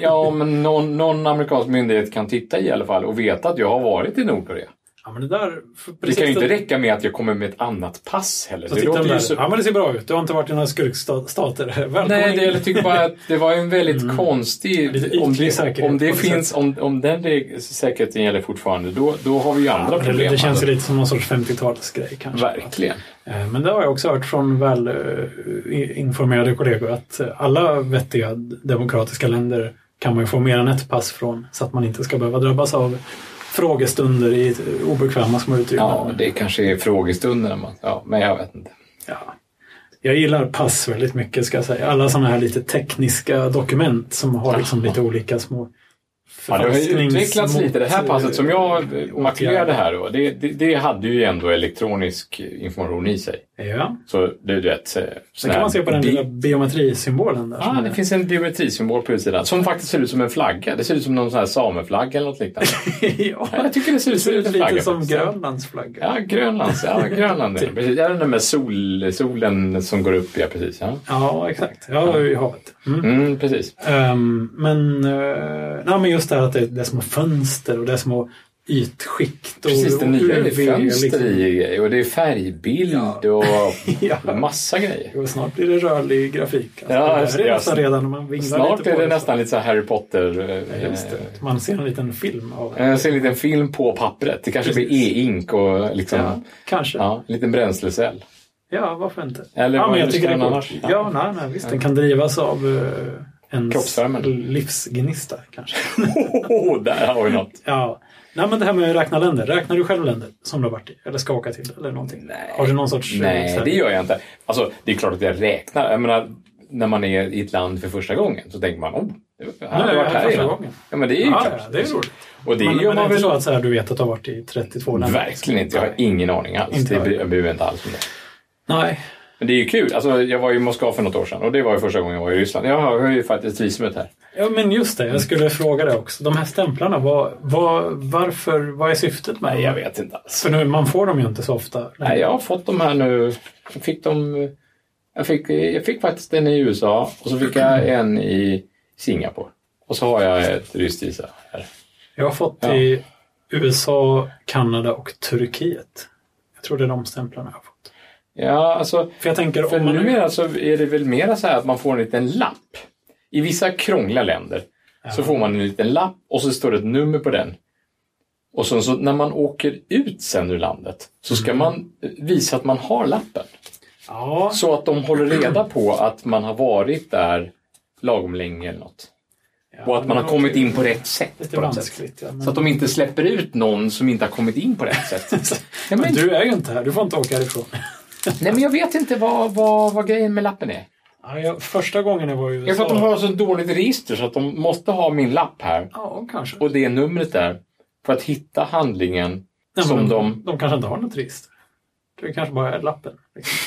Ja, men någon, någon amerikansk myndighet kan titta i alla fall och veta att jag har varit i Nordkorea. Ja, men det där... för- Det precis kan ju inte det- räcka med att jag kommer med ett annat pass heller. Så Det tittar de låter ju där. så... Ja, men det ser bra ut. Du har inte varit i några skurkstater. Välkommen Nej, det, in. Mm. jag tycker bara att det var ju en väldigt konstig... Lite om ytlig det, säkerhet om det på något finns, om, om den reg- säkerheten gäller fortfarande, då, då har vi ju andra Ja, det, problem. det känns ju alltså. lite som någon sorts 50-talsgrej kanske. Verkligen. Eh, Men det har jag också hört från väl eh, i- informerade kollegor att eh, alla vettiga demokratiska länder kan man ju få mer än ett pass från så att man inte ska behöva drabbas av frågestunder i eh, obekväma små utrymmen. Ja, det kanske är frågestunden. Man, ja, men jag vet inte. Ja. Jag gillar pass väldigt mycket ska jag säga. Alla sådana här lite tekniska dokument som har liksom lite olika små Ja, det har ju utvecklats förfalsknings- lite. Det här passet som jag eh, åtgärder. makulerade här då, det, det, det hade ju ändå elektronisk information i sig. Ja, Så du, du vet... eh, sån sen kan här man se på den bi- lilla biometrisymbolen där. Ja, som det är- finns en biometrisimbol på utsidan som faktiskt ser ut som en flagga. Det ser ut som någon sån här sameflagga eller något liknande. ja, Ja, jag tycker det ser det ut som ser ut en lite flagga. som faktiskt. Grönlands flagga. Ja, Grönlands. Ja, Grönland. Ja, Typ. precis. Ja, den där med sol, solen som går upp. Ja, precis. Ja. Ja, exakt. Ja, i havet. Mm. Mm, precis. Ehm, men, uh, nej, men just det här att det, det är små fönster och det är små ytskikt. Och, Precis, det och nya är det UV, fönster liksom. i och det är färgbild Ja. och massa grejer. Och snart blir det rörlig grafik. Alltså, Ja, det just är det, det ja. nästan redan när man vinglar Snart lite är på det nästan lite så här Harry Potter. eh, Just det. Man ser en liten film av det. Jag ser en liten film på pappret. Det kanske blir Precis. e-ink och liksom, Ja, ja. kanske. Ja. en liten bränslecell. varför inte? Eller ja, vad men jag det tycker det ska är vara coolt. annars. Ja, nej, nej, visst. Den kan drivas av uh, ens Kroppsvärmen. livsgnista kanske. Oh, där har vi något. Ja. Nej, men det här med att räkna länder. Räknar du själv länder som du har varit i? Eller ska åka till? Eller någonting? Nej. Har du någon sorts... eh, så Nej, här- det gör jag inte. Alltså, det är klart att jag räknar. Jag menar, när man är i ett land för första gången så tänker man oh, jag har Nej, aldrig jag varit är här första innan. gången. Ja, men det är ju Ja, klart. ja, det är roligt. Och det men, gör men man inte väl så att så här, du vet att du har varit i 32 länder? Verkligen inte. Jag har ingen aning alls. Inte det jag. bryr jag bryr mig inte alls om det. Nej. Men det är ju kul. Alltså, jag var ju i Moskva för något år sedan och det var ju första gången jag var i Ryssland. Jag har ju faktiskt visumet här. Ja, men just det. Jag skulle fråga det också. De här stämplarna, vad, vad, varför, vad är syftet med Nej, jag dem? vet inte alls. För nu, man får dem ju inte så ofta. Nej, jag har fått de här nu. Jag fick, dem, jag fick, jag fick faktiskt en i USA och så fick jag en i Singapore. Och så har jag ett ryskt visa här. Jag har fått Ja. i USA, Kanada och Turkiet. Jag tror det är de stämplarna jag har fått. Ja, alltså... För jag tänker För om man... numera så är det väl mera så här att man får en liten lapp. I vissa krångliga länder så får man en liten lapp och så står det ett nummer på den. Och sen så när man åker ut sen ur landet så Mm. ska man eh, visa att man har lappen. Ja, Så att de håller reda på att man har varit där lagom länge eller något. Och att man har kommit in på rätt sätt. Lite På något sätt. vanskligt. Ja, men... Så att de inte släpper ut någon som inte har kommit in på rätt sätt. Ja, men men, du är ju inte här, du får inte åka härifrån. nej, men jag vet inte vad, vad, vad grejen med lappen är. Ja, jag, första gången jag var i USA. Det är för att de har så dåligt register så att de måste ha min lapp här Ja, kanske. och det numret där för att hitta handlingen Nej, som men de... de kanske inte har något register. Det kanske bara är lappen. liksom.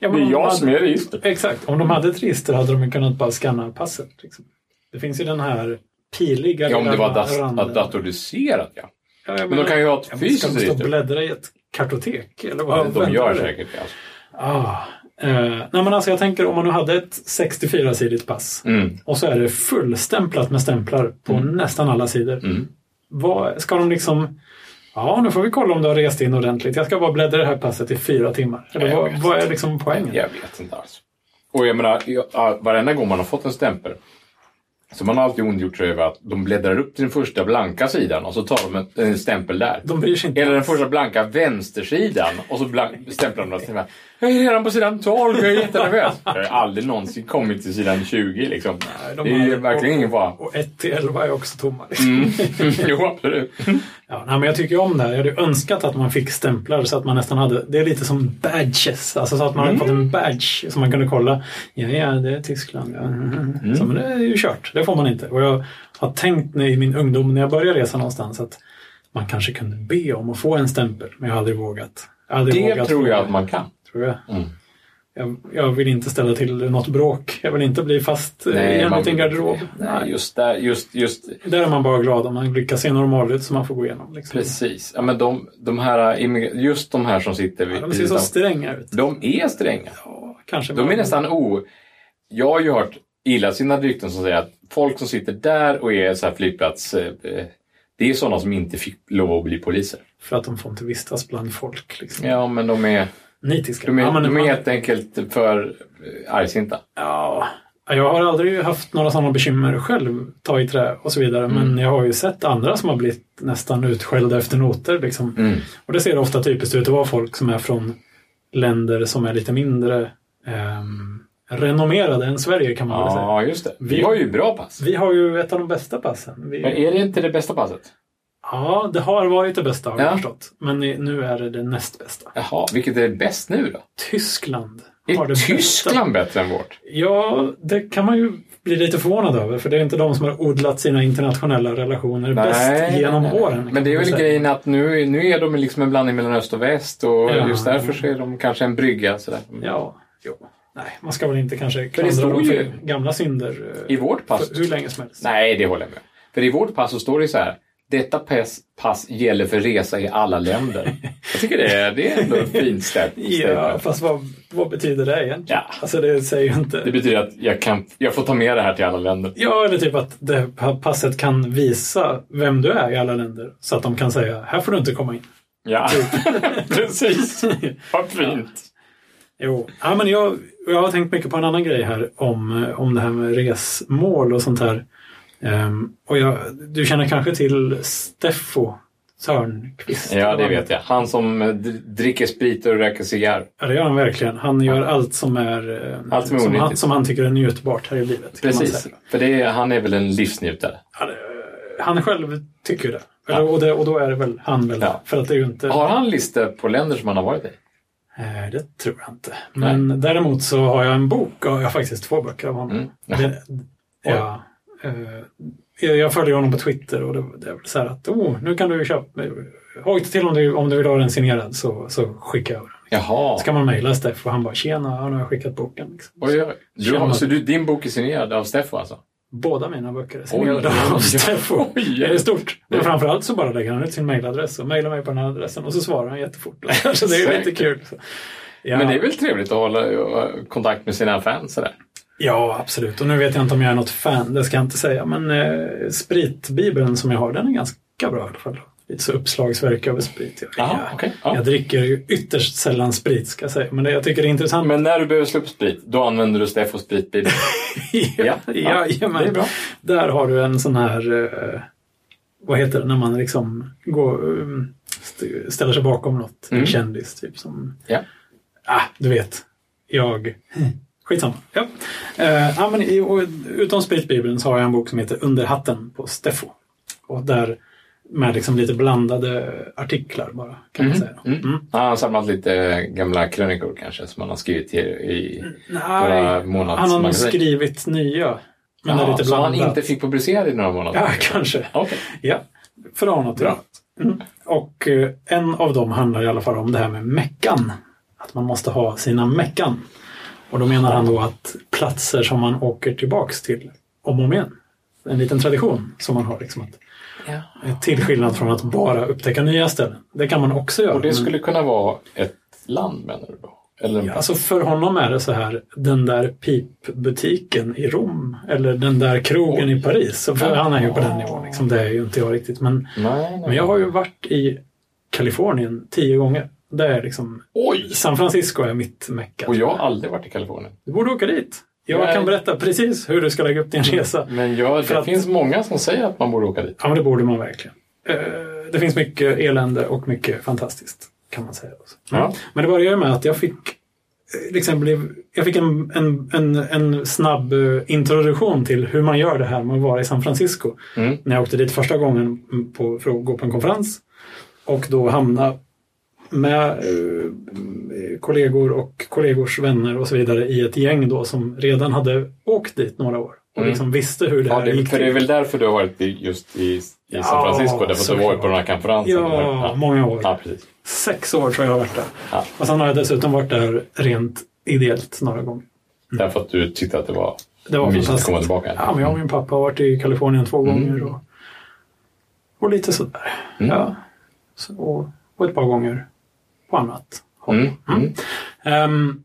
ja, Det om är de jag hade- som är registret. Exakt, om de hade ett register hade de ju kunnat bara skanna passet. Liksom. Det finns ju den här piliga Ja, om det var lilla das- randen. datoriserat ja. Ja, jag Men de menar- kan ju ha ett Ja, men Ska fysiskt de stå och register. bläddra i ett kartotek? Eller vad Ja, väntar de gör det? säkert det. Alltså. Ah, eh, nej men alltså jag tänker om man nu hade ett 64-sidigt pass Mm. och så är det fullstämplat med stämplar på nästan alla sidor. Mm. Vad, ska de liksom... Ja, nu får vi kolla om du har rest in ordentligt. Jag ska bara bläddra i det här passet i fyra timmar. Eller Ja, jag vad, vet vad är liksom poängen? Jag vet inte alls. Och jag menar, jag, ja, varenda gång man har fått en stämpel så man har alltid ondgjort sig över att de bläddrar upp till den första blanka sidan och så tar de en, en stämpel där. De bryr sig inte. Eller den första blanka vänstersidan och så blank, stämplar de den. här. Jag är redan på sidan 12, jag är jättenervös. Jag har aldrig någonsin kommit till sidan 20 liksom. de det är ju har- verkligen ingen fara. Och 1 till 11 är också tomma. liksom. Mm. jo, absolut. Ja, nej, men jag tycker ju om det här. Jag hade ju önskat att man fick stämplar så att man nästan hade... Det är lite som badges. Alltså så att man hade fått Mm. en badge som man kunde kolla. Ja, ja, det är Tyskland. Ja. mhm. Mm. Så, men det är ju kört. Det får man inte. Och jag har tänkt när, i min ungdom när jag började resa någonstans att man kanske kunde be om att få en stämpel. Men jag har aldrig vågat. Jag har aldrig Det vågat tror fråga. jag att man Mm. kan. Tror jag. Jag, jag vill inte ställa till något bråk. Jag vill inte bli fast eh, i en man liten vill inte garderob. det. Nej, just där. Just, just, Där är man bara glad om man lyckas se normal ut så man får gå igenom. Liksom. precis. Ja, men de, de här, immigra- just de här som sitter vid De ser så utan- stränga ut. De är stränga. Ja, kanske. De är men- nästan o... Jag har ju hört illasinnade rykten som säger att folk som sitter där och är så här flygplats... eh, eh, Det är sådana som inte fick lov att bli poliser. För att de får inte vistas bland folk. Liksom. Ja, men de är, Nitiska. de är, ja, men de är man- helt enkelt för eh, argsinta. ja, jag har aldrig haft några sådana bekymmer själv, ta i trä och så vidare. Mm. Men jag har ju sett andra som har blivit nästan utskällda efter noter. Liksom. Mm. Och det ser ofta typiskt ut att vara folk som är från länder som är lite mindre ehm, renommerade än Sverige kan man väl säga. Ja, just det. Vi Vi- har ju bra pass. Vi har ju ett av de bästa passen. Men Vi, är det inte det bästa passet? ja, det har varit det bästa har Ja. jag förstått. Men i- nu är det det näst bästa. Jaha, vilket är bäst nu då? Tyskland har Är det bästa Tyskland bättre än vårt? Ja, det kan man ju bli lite förvånad över för det är inte de som har odlat sina internationella relationer bäst genom nej, nej. åren. kan Men det är man väl säga. grejen att nu, nu är de liksom en blandning mellan öst och väst och Ja. just därför så är de kanske en brygga. Sådär. Ja, jo. Nej, man ska väl inte kanske står klandra dem ju- för gamla synder eh, I vårt pass för hur länge som helst. Nej, det håller jag med. För i vårt pass så står det så här. Detta pass, pass gäller för resa i alla länder. Jag tycker det är, det är ändå ett fint step. Ja, statement. fast vad, vad betyder det egentligen? Ja. Alltså det säger ju inte... Det betyder att jag, kan, jag får ta med det här till alla länder. Ja, eller typ att det här passet kan visa vem du är i alla länder. Så att de kan säga, här får du inte komma in. Ja, precis. Vad fint. Jo, ja, men jag, jag har tänkt mycket på en annan grej här om, eh, om det här med resmål och sånt här. Ehm, och jag, du känner kanske till Steffo Törnqvist? Ja, det vet jag. Han som eh, d- dricker sprit och röker cigarr. Ja, det gör han verkligen. Han gör allt som är, eh, Allt som är han, onyttigt. som han tycker är njutbart här i livet. kan man Precis. säga. För det är, han är väl en livsnjutare. Han, eh, han själv tycker det. Ja. Eller, och, det och då är det väl han väl. Ja. För att det är ju inte... Har han listor på länder som han har varit i? Eh, Det tror jag inte. Men däremot så har jag en bok, och jag har faktiskt två böcker av honom. Mm. Det, ja, eh, jag jag följer honom på Twitter och det, det är väl så här att oh, nu kan du köpa, hojta till om du, om du vill ha den signerad så, så skickar jag över den. Jaha. Så kan man mejla Steff och han bara tjena, nu har jag skickat boken. Liksom. Oj, oj. Du, Tjena. har- så du, din bok är signerad av Steffo alltså? Båda mina böcker är Oj, signerade oj, oj. av Steffo. Oj. Det är stort. Men Det- framförallt så bara lägger han ut sin mejladress och mejlar mig på den här adressen och så svarar han jättefort. så det är ju lite Säkert. kul. Så. Ja. Men det är väl trevligt att hålla eh, kontakt med sina fans sådär? Ja, absolut. Och nu vet jag inte om jag är något fan, det ska jag inte säga. Men eh, spritbibeln som jag har, den är ganska bra i alla fall. Lite så uppslagsverk över sprit. Jag, Jaha, jag, okej, ja. jag dricker ju ytterst sällan sprit, ska jag säga. Men det, jag tycker det är intressant. Men när du behöver slå upp sprit, då använder du Steffos spritbil. ja, ja, ja, det är bra. Där har du en sån här eh, vad heter det, när man liksom går, um, st- ställer sig bakom något, en kändis typ som, Mm. Ja. ah, du vet, jag, skitsamma. Ja. Eh, ja, men i, och, utom spritbibeln så har jag en bok som heter Under hatten på Steffo. Och där med liksom lite blandade artiklar bara, kan man säga. Mm. Han har samlat lite gamla krönikor kanske som han har skrivit i... i Några Nej, månads- han har nog magasin. skrivit nya. Men det är Ja, lite som han blandat. inte fick publicerad i några månader. Ja, kanske. Okej. Ja, för att ha något. Bra. Mm. Och eh, en av dem handlar i alla fall om det här med meckan. Att man måste ha sina meckan. Och då menar han då att platser som man åker tillbaks till om och om igen. En liten tradition som man har. Liksom att, Ja. eh, till skillnad från att bara upptäcka nya ställen. Det kan man också göra. Och det men- skulle kunna vara ett land menar du då? Eller en Mm. Ja, Alltså för honom är det så här, den där pipbutiken i Rom eller den där krogen i Paris. Så för han är ju på den nivån, liksom. det är ju inte jag riktigt. Men, Nej, nej. men jag har ju varit i Kalifornien tio gånger. Det är liksom, Oj! San Francisco är mitt mecka. Och jag har aldrig varit i Kalifornien. Du borde åka dit. Jag Nej. kan berätta precis hur du ska lägga upp din resa. Men jag, För det att- finns många som säger att man borde åka dit. Ja, men det borde man verkligen. Eh, Det finns mycket elände och mycket fantastiskt, kan man säga. också. Ja. Men det började med att jag fick, eh, liksom blev, jag fick en, en, en, en snabb eh, introduktion till hur man gör det här med att vara i San Francisco. Mm. När jag åkte dit första gången på, för att gå på en konferens och då hamna med eh, kollegor och kollegors vänner och så vidare i ett gäng då som redan hade åkt dit några år och Mm. liksom visste hur det Ja, här det, gick för det är till. väl därför du har varit i- just i, i Ja, San Francisco, därför att du har varit såklart. på den här konferensen. Ja, Mm. många år. alltså. Ja, precis. Sex år tror jag jag har varit där. Ja. Och sen har jag dessutom varit där rent ideellt några gånger. Därför att du tyckte att det var Det var mysigt att komma fantastiskt. tillbaka. Mm. Ja, men jag och min pappa har varit i Kalifornien två gånger. Och, och lite sådär. Ja. Så, och, och ett par gånger på annat håll. Mm. Mm. Ehm,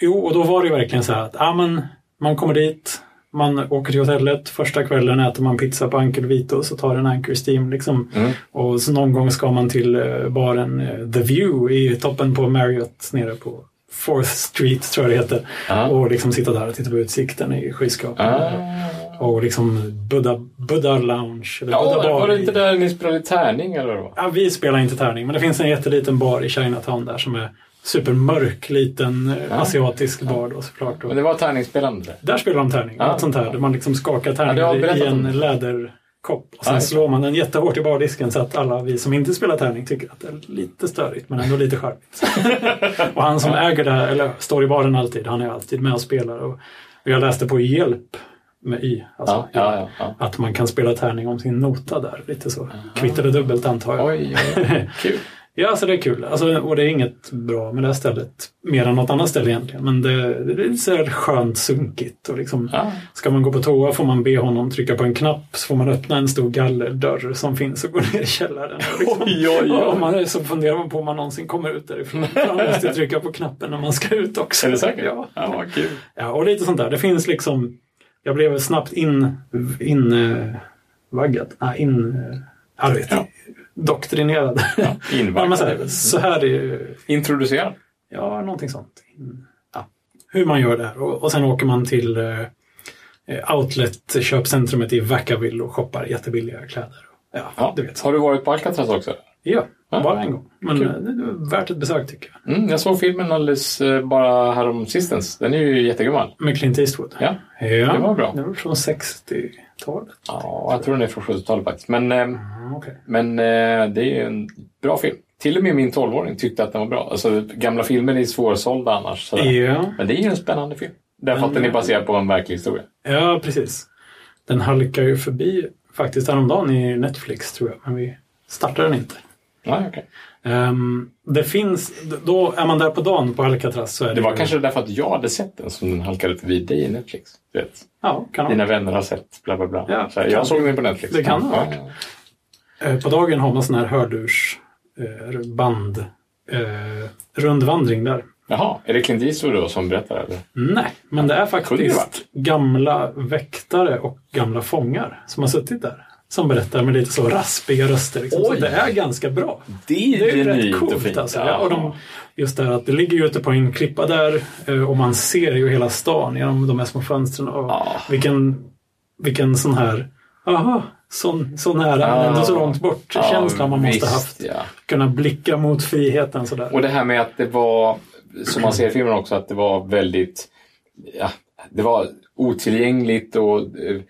jo, och då var det ju verkligen så här att ja, men, man kommer dit, man åker till hotellet, första kvällen äter man pizza på Ankel Vitos och tar en Anchor Steam. Liksom. Mm. Och så någon gång ska man till eh, baren eh, The View i toppen på Marriott nere på Fourth Street tror jag det heter. Ja. Och liksom sitta där och titta på utsikten i skyskrapan. Ah. Och liksom Buddha, Buddha Lounge. Eller Ja, Buddha var Bar det i- inte där ni spelade tärning eller vad? Ja, vi spelar inte tärning, men det finns en jätteliten bar i Chinatown där som är supermörk, liten eh, asiatisk bar då såklart. Och Men det var tärningsspelande där. där spelar de tärning, Ja. något sånt här, där man liksom skakar Ja, det har tärning jag berättat i en om. läderkopp. Och sen Ja. slår man den jättehårt i bardisken så att alla vi som inte spelar tärning tycker att det är lite störigt, men ändå lite charmigt. och han som äger det här, eller står i baren alltid, han är alltid med och spelar. Och jag läste på Hjälp med Y. Ja, Alltså, ja, ja, ja. Att man kan spela tärning om sin nota där. Lite så. Kvitt eller dubbelt antar jag. Oj, oj, oj. kul. Ja, så det är kul. Alltså, och det är inget bra med det här stället. Mer än något annat ställe egentligen. Men det, det är lite så här skönt sunkigt. Och liksom, Ja. Ska man gå på toa får man be honom trycka på en knapp. Så får man öppna en stor gallerdörr som finns och gå ner i källaren. Och Liksom, Oj, oj, Ja, oj. om man är, så funderar man på om man någonsin kommer ut därifrån. För Man måste trycka på knappen när man ska ut också. Är det säkert? Ja. ja vad kul. Ja, och lite sånt där. Det finns liksom... Jag blev snabbt in... in eh, vaggad? Nej, in... eh, Ja, du vet. Ja. Doktrinerad. Ja, invaggad men så, är här, väl- så här är ju... Introducera. Ja, någonting sånt. In, ja. Hur man gör det här. Och, och sen åker man till eh, Outlet-köpcentrumet i Vacaville och shoppar jättebilliga kläder. Ja, Ja. du vet. Har du varit på Alcatraz också? Ja, Ja. bara en gång. Men eh, det är värt ett besök tycker jag. Mm, jag såg filmen alldeles eh, bara härom sistens. Den är ju jättegammal. Med Clint Eastwood. Ja. ja. det var bra. Det var från 60-talet. ja, jag tror den är från 70-talet faktiskt. Men, eh, Ja, okej. men eh, det är ju en bra film. Till och med min 12-åring tyckte att den var bra. Alltså, gamla filmer är svårsålda annars. Sådär. Ja. Men det är ju en spännande film. Därför att den Mm. är baserad på en verklig historia. ja, precis. Den halkar ju förbi faktiskt häromdagen i Netflix tror jag, men vi startar den inte. Nej, okej. Ehm, det finns, då är man där på dagen på Alcatraz så är det, Det var ju- kanske därför att jag hade sett den som den halkade förbi dig i Netflix. Du vet. ja, kan ha. Dina vänner har sett bla bla bla. Ja, så här, kan- jag såg den på Netflix. det kan ha Ja, varit. ja. Eh, På dagen har man sån här hördurs eh, band eh, rundvandring där. Jaha, är det Clint Eastwood då som berättar? Eller? Nej, men det är Kunde det faktiskt varit. gamla väktare och gamla fångar som har suttit där. Som berättar med lite så raspiga röster. Liksom. Så Oj! det är ganska bra. Det är Det är ju genuint rätt och coolt fint. alltså. Ja. Ja, och de, just det här att det ligger ju ute på en klippa där eh, och man ser ju hela stan genom de här små fönstren. Och Ja. vilken, vilken sån här, aha, så, så nära men ändå så långt bort. Ja, känslan man måste visst, haft. Ja. Kunna blicka mot friheten sådär. Och det här med att det var, som man ser i filmen också, att det var väldigt ja, det var otillgängligt och eh,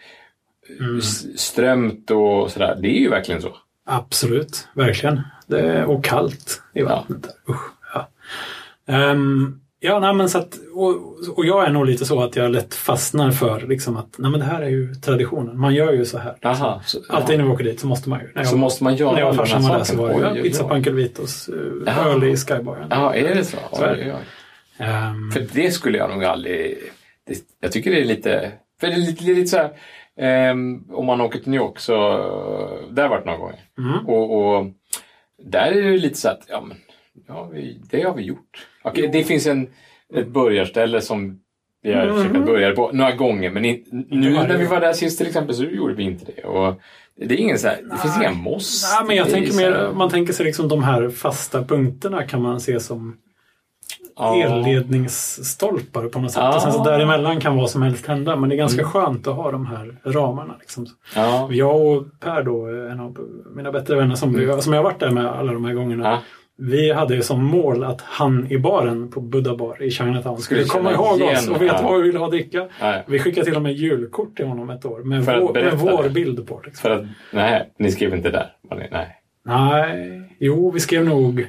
s- strömt och sådär. Det är ju verkligen så. Absolut, verkligen. Det är, och kallt i vattnet. där. Usch, ja. Ehm, ja, nej, men så att, och, och jag är nog lite så att jag lätt fastnar för liksom att nej, men det här är ju traditionen. Man gör ju så här. Aha, så, ja. Alltid när vi åker dit så måste man ju. När så måste man göra när jag och alla de farsan här var där så sakerna. var det ju Oj, oj, ja, pizza oj. på Uncle Vitos eh, Jaha. öl i skybaren. Ja, är det så? Så är det. Oj, oj, oj. Ehm, För det skulle jag nog aldrig... Det, jag tycker det är lite... För det är lite, det är lite så här... ehm, om man åker till New York så... Där har jag varit några gånger. Mm. Och, och där är det lite så att... Ja, men, ja, vi, det har vi gjort. Okej, det finns en, ett börjarställe som vi har försökt börja på några gånger. Men in, nu Mm-hmm. Ja, när vi ja. var där sist till exempel så gjorde vi inte det. Och det är ingen så här, det finns inga moss. nej, men jag Det är tänker så här- mer, man tänker sig liksom de här fasta punkterna kan man se som Ja. elledningsstolpar på något sätt. Ja. Mm. Och sen så däremellan kan vad som helst hända. Men det är ganska skönt att ha de här ramarna. Liksom. Ja. Jag och Per då, en av mina bättre vänner som, vi, som jag har varit där med alla de här gångerna. Mm. Ja. Vi hade ju som mål att han i baren på Buddha Bar i Chinatown skulle Skulle komma känna ihåg igen, oss och veta ja. vad vi ville ha att dricka. Ja, ja. Vi skickade till och med julkort till honom ett år med, För att vår, med berätta vår det. bild på. Liksom. För att, nej, ni skrev inte där. Var ni- Nej. Nej, jo vi skrev nog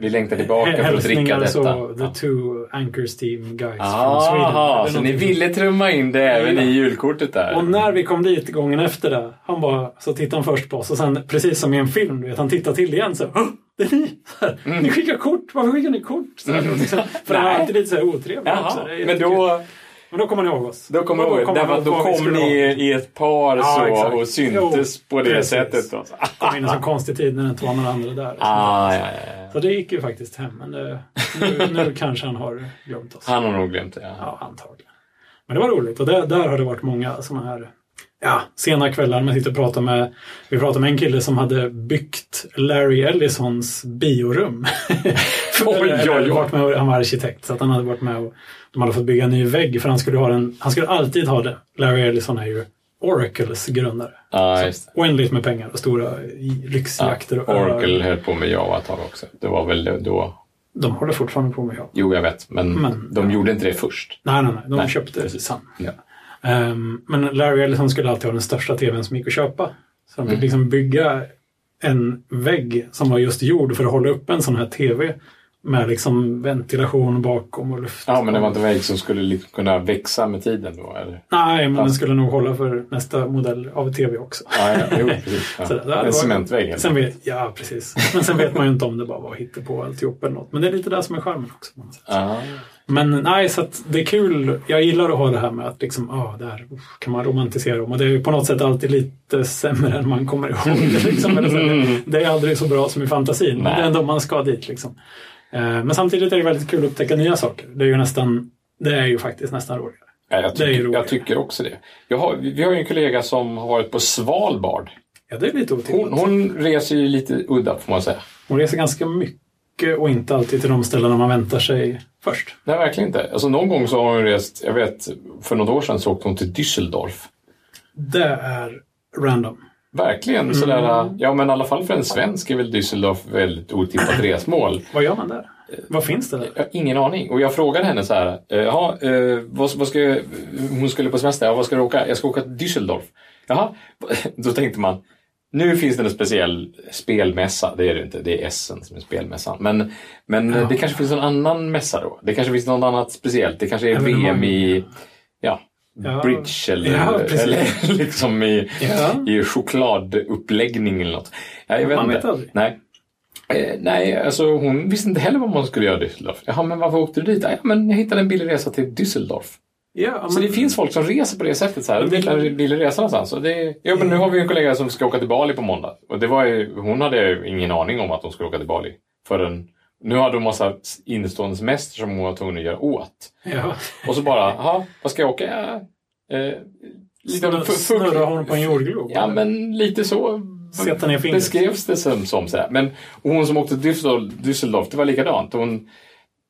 Vi längtar tillbaka för att dricka hälsningar detta. så Ja. the two anchors team guys from Sweden. Aha, Eller så ni någonting. ville trumma in det även Ja. i julkortet där? Och när vi kom dit gången efter det, han bara, så tittade han först på oss och sen precis som i en film, du vet, han tittade till igen så "Åh, det är ni! Så här, Ni skickar kort, varför skickar ni kort? Så här, liksom, för han var Mm. Nej. alltid lite så här otrevlig också. Jaha, Det är men jättekul. då, men då kommer ni ihåg oss. då kommer Och jag ihåg, därför att då vad vi kom skulle ni ha. i ett par Ja, så exakt. och syntes Jo, på det precis. sättet. Då. Ah, kom in i en sån konstig tid när det inte var några andra där. liksom. ja, ja, ja. Så det gick ju faktiskt hem, men det, nu, nu kanske han har glömt oss. Han har nog glömt det. Ja. Ja, antagligen. Men det var roligt och där, där har det varit många sådana här ja, sena kvällar. Man sitter och pratar med, vi pratade med en kille som hade byggt Larry Ellisons biorum. Oj, oj, oj. Varit med, och- han var arkitekt så att han hade varit med och de hade fått bygga en ny vägg för han skulle, ha den, han skulle alltid ha det. Larry Ellison är ju Oracles grundare. Ja, Ah, just det. Oändligt med pengar och stora i- lyxjakter. och öar. Oracle höll på med Java ett tag också. Det var väl då... De håller fortfarande på med ja. Jo, jag vet, men, Men- de gjorde inte det först. Nej, nej, nej. De Nej, köpte precis. Sun. Ja. Ehm, men Larry Ellison skulle alltid ha den största tvn som gick att köpa. Så de fick Mm. liksom bygga en vägg som var just gjord för att hålla upp en sån här tv. Med liksom ventilation bakom och luft. Ja, men det var inte väg som skulle liksom kunna växa med tiden då? Eller? Nej, men den skulle nog hålla för nästa modell av tv också. Ja, ja, jo, precis. Så det- det Ja. var- En cementvägg. helt Sen vet, ja, precis. Men sen vet man ju inte om det bara var hittepå alltihop eller något. Men det är lite där som är charmen också. på något sätt. Ja. Men nej, så att det är kul. Jag gillar att ha det här med att liksom, ah, det här uff, kan man romantisera om. Och det är ju på något sätt alltid lite sämre än man kommer ihåg. det, Liksom. Eller så, Mm. det- det är aldrig så bra som i fantasin, men det är ändå man ska dit. Liksom. Eh, Men samtidigt är det väldigt kul att upptäcka nya saker. Det är ju nästan, det är ju faktiskt nästan roligare. Ja, jag, Det är ju tycker, roligare. jag tycker också det. Jag har, vi vi har ju en kollega som har varit på Svalbard. Ja, det är lite otippat. Hon, Hon, hon reser ju lite udda får man säga. reser ganska mycket och inte alltid till de ställena man väntar sig först. Nej, verkligen inte. Alltså, någon gång så har hon rest, jag vet, för något år sedan så åkte hon till Düsseldorf. Det är random. Verkligen sådär, ja men i alla fall för en svensk är väl Düsseldorf väldigt otippat resmål. Vad gör man där? Vad finns det där? Eh, Jag har ingen aning. Och jag frågade henne så här, eh, jaha, eh, vad, vad ska, jag- hon skulle på semester, ja, vad ska du åka? Jag ska åka till Düsseldorf. Jaha, då tänkte man, nu finns det en speciell spelmässa. Det är det inte, det är Essen som är spelmässan. Men, men eh, det kanske finns någon annan mässa då. Det kanske finns något annat speciellt. Det kanske är Evenemang. VM i ja, Ja. bridge eller, Ja, precis. eller liksom i, Ja. i chokladuppläggning eller något. Ja, jag vet Man inte. vet aldrig. Nej. Eh, nej, alltså hon visste inte heller vad man skulle göra i Düsseldorf. Jaha, men varför åkte du dit? Ja, men jag hittade en billig resa till Düsseldorf. Ja, Så men- det finns folk som reser på det sättet. Så här. De det- hittar en billig resa någonstans. Och det, ja, men nu har vi en kollega som ska åka till Bali på måndag. Och det var ju, hon hade ju ingen aning om att hon skulle åka till Bali. Förrän, nu hade hon massa innestående semester som hon var tvungen att göra åt. ja. Och så bara, jaha, vad ska jag åka? Ja, Eh, lite Snurra, fu- fu- snurra hon på en jordglob? Ja, men lite så Sätta ner fingret. beskrevs det som. som så här. Men och hon som åkte till Düsseldorf, Düsseldorf, det var likadant. Hon,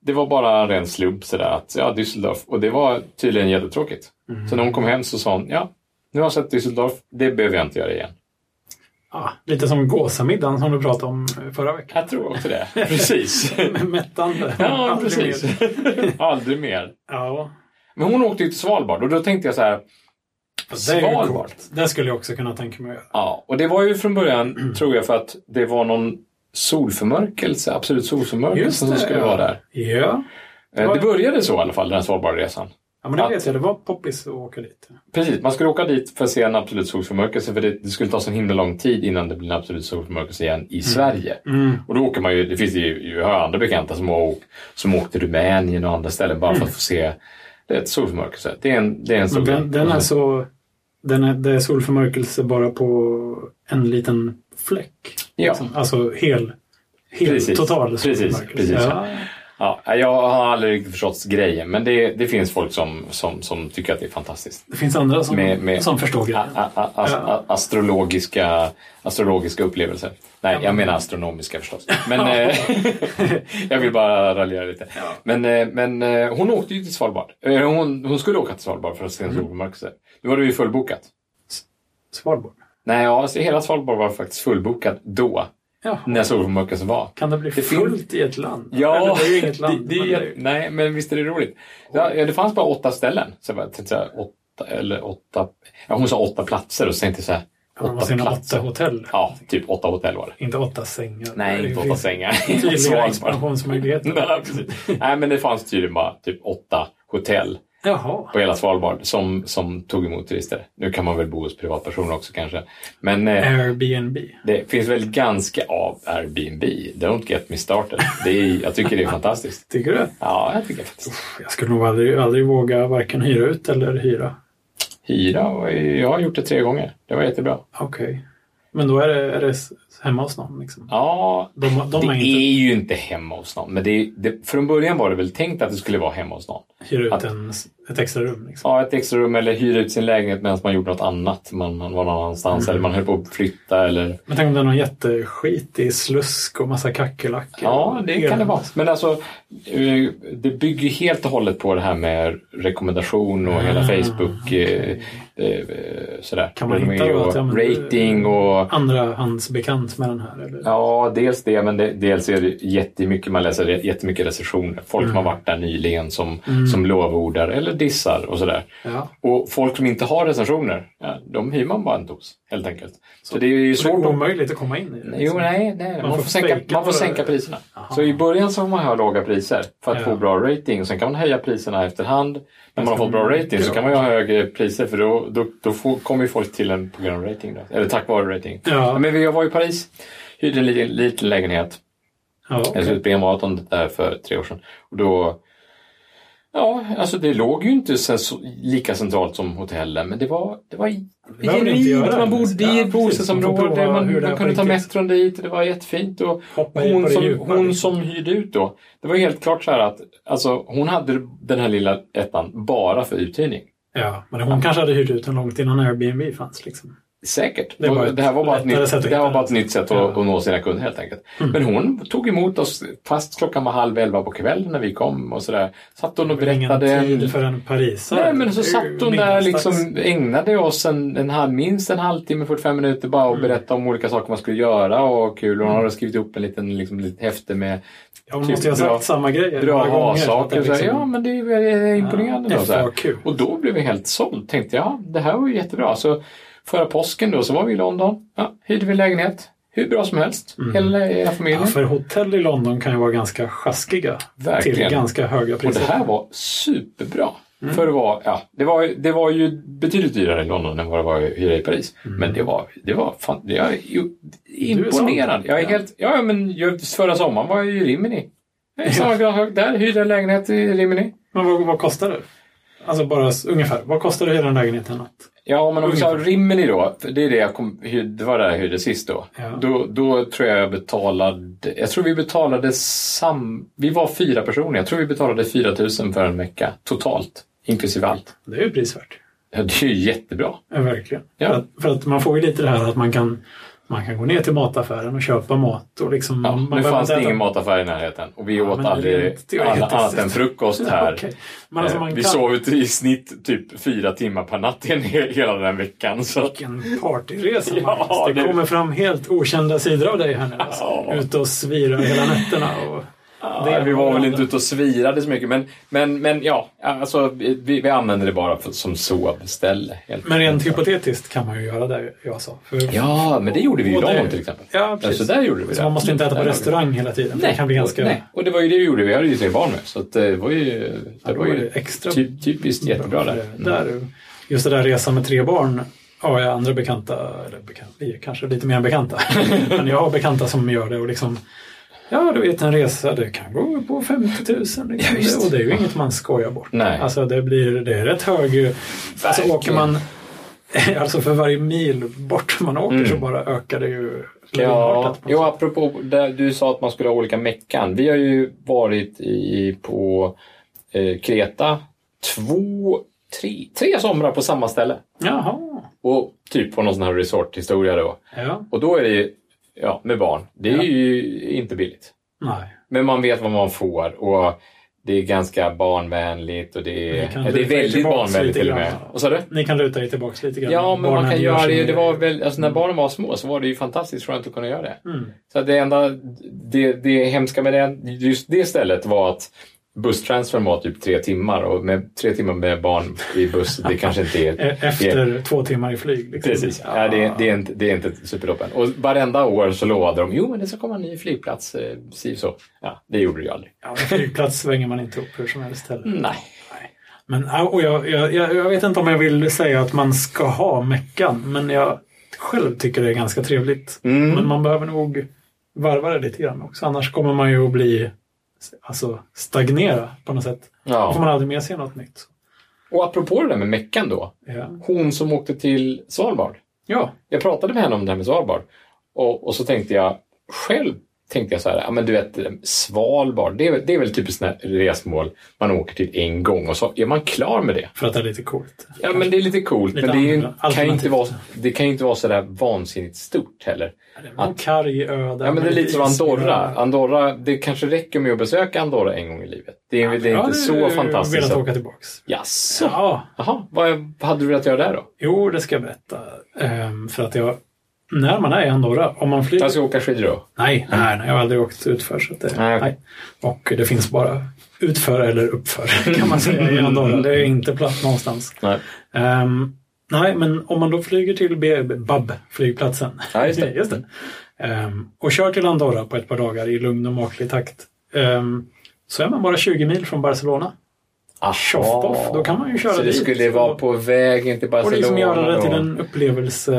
det var bara en ren slump sådär att, ja, Düsseldorf. Och det var Mhm. tydligen jättetråkigt. Så när hon kom hem så sa hon, ja, nu har jag sett Düsseldorf, det behöver jag inte göra igen. ja, lite som gåsamiddagen som du pratade om förra veckan. Jag tror också det. Precis. Mättande. Ja, Aldrig precis. mer. Aldrig mer. Ja, Men hon åkte ju till Svalbard och då tänkte jag så här. det är ju Svalbard. coolt. Det skulle jag också kunna tänka mig att göra. Ja, och det var ju från början, tror jag, för att det var någon solförmörkelse, absolut solförmörkelse som skulle ja. vara där. Ja. Eh, Det började så i alla fall, den här Svalbardresan. ja, men det Att- vet jag. Det var poppis att åka dit. Precis, man skulle åka dit för att se en absolut solförmörkelse för det, det skulle ta så himla lång tid innan det blir en absolut solförmörkelse igen i Sverige. Mm. Och då åker man ju, det finns ju, jag har andra bekanta som har åkt, som åkt till Rumänien och andra ställen bara för att få se det är ett solförmörkelse. Det är en, det är en stor Mm. Men den, den är Och så- så... Den är, det är solförmörkelse bara på en liten fläck. Ja. liksom. Alltså hel, hel Precis. total Precis, solförmörkelse. precis, Ja. Ja, jag har aldrig riktigt förstått grejen, men det, det finns folk som, som, som tycker att det är fantastiskt. Det finns andra som, Med- med- som förstår A, grejen. a, a, as, a, astrologiska, astrologiska upplevelser. Nej, jag menar astronomiska förstås. Men eh, jag vill bara raljera lite. Men, eh, men eh, hon åkte ju till Svalbard. Eh, Hon, hon skulle åka till Svalbard för att se en solförmörkelse. Nu var det ju fullbokat. Svalbard. Nej, ja, alltså, hela Svalbard var faktiskt fullbokat då, Ja. när solförmörkelsen var. Kan det bli Det finns- fullt i ett land? Eller Ja, det är ju inget land. det, det, men är- nej, men visst är det roligt. Ja, ja, det fanns bara åtta ställen. Så jag bara tänkte så här, åtta, eller åtta, ja, hon sa åtta platser och så tänkte jag så här, man måste åtta in i åtta platser. hotell. Ja, typ åtta hotell var det. Inte åtta sängar. Nej, Det inte åtta finns sängar. Tydliga Svalbard. expansionsmöjligheter. Nej, precis. nej, men det fanns tydligen bara typ åtta hotell Jaha. på hela Svalbard som, som tog emot turister. Nu kan man väl bo hos privatpersoner också kanske. Men Mm. eh, Airbnb. det finns väl ganska av Airbnb. Don't get me started. Det är, jag tycker det är fantastiskt. Tycker du? Ja, jag tycker faktiskt. Jag skulle nog aldrig, aldrig våga varken hyra ut eller hyra. Hyra, och jag har gjort det tre gånger. Det var jättebra. Okej. Men då är det, är det s- hemma hos någon liksom? Ja, De, de det har är inte ju inte hemma hos någon. Men det, det, från början var det väl tänkt att det skulle vara hemma hos någon. hyra ut en, s- ett extra rum liksom. Ja, ett extra rum eller hyra ut sin lägenhet medan man gjorde något annat. Man, man var någon annanstans eller man höll på att flytta. Eller... Men tänk om det är någon jätteskit i slusk och massa kackerlackor. Ja, det kan det Elände. vara. Men alltså, eh, det bygger ju helt och hållet på det här med rekommendation och hela Facebook. eh, eh, Sådär. Ah. Kan man hitta Renommé då att, och ja, men det- rating och Andrahandsbekant med den här? Eller? Ja, dels det, men det, dels är det jättemycket man läser jättemycket recensioner. Folk som Mm. har varit där nyligen som, som lovordar eller dissar och sådär. Ja. Och folk som inte har recensioner, ja, de hyr man bara en dos helt enkelt. Så, det är ju Så det är svårt att... omöjligt att komma in i det. liksom. Jo, nej, nej. Man, får får sänka, fejka man får på det. sänka priserna. Aha. Så i början så får man ha låga priser för att Ja. få bra rating. Och sen kan man höja priserna efterhand. När man har fått bra rating så kan man ju ha högre priser för då, då, då får, kommer ju folk till en på grund av rating. Då. Eller tack vare rating. Ja, Ja. men jag var i Paris, hyrde en liten, liten lägenhet. Ja, Jag okej. skulle springa maraton där för tre år sedan. Och då, ja, alltså det låg ju inte sen, så, lika centralt som hotellen, men det var, det var behöver inte genuint. göra Man det. bodde Ja, i precis. ett Man får bostadsområde, prova man, hur det är man på kunde ta riktigt. metron dit och det var jättefint. Och Hoppa i på hon, det som, djupa, hon liksom. som hyrde ut då, det var helt klart så här att alltså, hon hade den här lilla ettan bara för uthyrning. Ja, men hon kanske hade hyrt ut den långt innan Airbnb fanns. Liksom. Säkert. Det Det, är bara ett det här var bara ett lättare nytt sätt att sätt, det här var hitta bara den. ett nytt sätt att, Ja. Mm. att nå sina kunder helt enkelt. Men hon tog emot oss fast klockan var halv elva på kvällen när vi kom och sådär. Satt hon och Ingen berättade. tid för en parisare. Nej, men så Det är ju satt hon där middagsdags. liksom ägnade oss en, en halv, minst en halvtimme, 45 minuter bara Mm. och berätta om olika saker man skulle göra och kul. Hon hade skrivit upp en liten, liksom, litet häfte med Ja, hon typ måste ju ha bra- sagt samma grejer. bra några gånger, så att det ha-saker. Så här, liksom- Ja, men det är ju- det är imponerande. Ja, då, så här. FAQ. Och då blev jag helt såld. Tänkte ja, det här var ju jättebra. Så förra påsken då så var vi i London. Ja, hyrde vi en lägenhet. Hur bra som helst. Hela, hela familjen. Mm. Ja, för hotell i London kan ju vara ganska sjaskiga Verkligen. till ganska höga och priser. Mm. det här var superbra. För det var, ja, det var, det var ju betydligt dyrare i London än vad det var att hyra i Paris. Mm. Men det var, det var fan, jag är ju imponerad. Jag är Ja. helt, ja men jag, förra sommaren var jag ju i Rimini. Jag är samma grad hög där, hyrde en lägenhet i Rimini. Men vad, vad kostar det? Alltså bara s- ungefär. Vad kostar det att hyra en lägenhet en natt? Ja, men om vi sa Rimini då, för det, är det, jag kom, hy- det var där jag hyrde sist då. Ja. då. Då tror jag jag betalade, jag tror vi betalade sam, vi var fyra personer, jag tror vi betalade 4 000 för en vecka totalt, inklusive allt. Det är ju prisvärt. Ja, det är ju jättebra. Ja, verkligen. Ja. För, att, för att man får ju lite det här att man kan Man kan gå ner till mataffären och köpa mat. Och liksom, Ja, man nu behöver fanns inte det äta- ingen mataffär i närheten och vi Ja, åt men aldrig rent teoretiskt. annat annat än frukost här. Okej. Men alltså Eh, man vi kan... sov ut i snitt typ fyra timmar per natt i en hel- hela den veckan. Så att, Vilken partyresa Ja, Magnus. Det det- kommer fram helt okända sidor av dig här nu. Alltså. Ja. Ute och svirar hela nätterna. Och... ja, vi var väl inte ute och svirade så mycket, men, men, men ja, alltså, vi, vi vi använde det bara för, som sovställe. Helt Men rent enkelt. hypotetiskt kan man ju göra det jag sa. För... Ja, men det gjorde vi ju i Och det- London till exempel. Ja, precis. Så där gjorde Så vi det. man måste inte äta på Där har vi- restaurang hela tiden. Nej. Det kan bli ganska... nej, och det var ju det vi gjorde. Vi hade ju tre barn med. Så att eh, det var ju, det var ju extra typ, typiskt jättebra där. Mm. där. Just det där resan med tre barn har jag andra bekanta, eller bekanta, vi är kanske lite mer än bekanta. Men jag har bekanta som gör det och liksom Ja, du vet en resa, det kan gå på 50 000. Liksom. visst. och det är ju inget man skojar bort. Nej. Alltså det, blir, det är rätt hög... Alltså Verkligen. åker man... Alltså för varje mil bort man åker så bara ökar det ju Mm. Ja, lavinartat på något jo, sätt. apropå där du sa att man skulle ha olika meckan. Vi har ju varit i, på eh, Kreta två, tre, tre somrar på samma ställe. Jaha. Och typ på någon sån här resorthistoria då. Ja. Och då är det ju, ja, med barn. Det är Ja. ju inte billigt. Nej. Men man vet vad man får och det är ganska barnvänligt och det Ni är, kan ja, det är luta er väldigt tillbaks barnvänligt lite till och med. grann. Vad sa du? Ni kan luta er tillbaka lite grann. Ja, men man Barnen kan gör göra sin Mm. det. det grej. var väl, alltså, när barnen var små så var det ju fantastiskt skönt att kunna göra det. Mm. Så att det enda det, det hemska med det, just det stället var att busstransfern var typ tre timmar och med tre timmar med barn i buss, det kanske inte är... E- Efter två timmar i flyg. Liksom. Precis. Ja, det, det, är inte, det är inte supertoppen. Och varenda år så lovade de, jo men det ska komma en ny flygplats, eh, si och så. Ja, det gjorde det ju aldrig. Ja, en flygplats svänger man inte upp hur som helst heller. Nej. Men, ja, och jag, jag, jag jag vet inte om jag vill säga att man ska ha meckan, men jag själv tycker det är ganska trevligt. Mm. Men man behöver nog varva det lite grann också, annars kommer man ju att bli alltså, stagnera på något sätt. Då får Ja. man aldrig med sig något nytt. Och apropå det där med meckan då. Ja. Hon som åkte till Svalbard. ja. jag pratade med henne om det här med Svalbard. Och, och så tänkte jag själv tänkte jag så här, ja men du vet eh, Svalbard, det är, väl- det är väl typiskt sådana här resmål man åker till en gång och så är man klar med det. För att det är lite coolt. Ja men det är lite coolt, Lite men det, är, ju- andra- kan ju inte alternativt. vara, det kan ju inte vara sådär vansinnigt stort heller. Det är väl en karg ö där Ja men det med är lite som Andorra. isbjörnar. Andorra, det kanske räcker med att besöka Andorra en gång i livet. Det är, det Jag är inte hade så ju fantastiskt. velat att- åka tillbaks. Jaså? Ja, Jaha, vad hade du velat göra där då? Jo, det ska jag berätta. Ehm, för att jag... När man är i Andorra, om man flyger... Jag ska åka skidor då? Nej, nej, nej, jag har aldrig åkt utför. Så att det, Alltså- Nej, okej. nej. Och det finns bara utför eller uppför kan man säga i Mm. Andorra. Det är inte platt någonstans. Nej. Ehm, nej, men om man då flyger till B- BAB-flygplatsen Ja, just det. Ehm, och kör till Andorra på ett par dagar i lugn och maklig takt ehm, så är man bara 20 mil från Barcelona. Tjoff-poff, då kan man ju köra Ah. Så det dit. skulle vara på vägen till Och Barcelona. liksom göra det Alltså, då? till en Ah, upplevelsetur.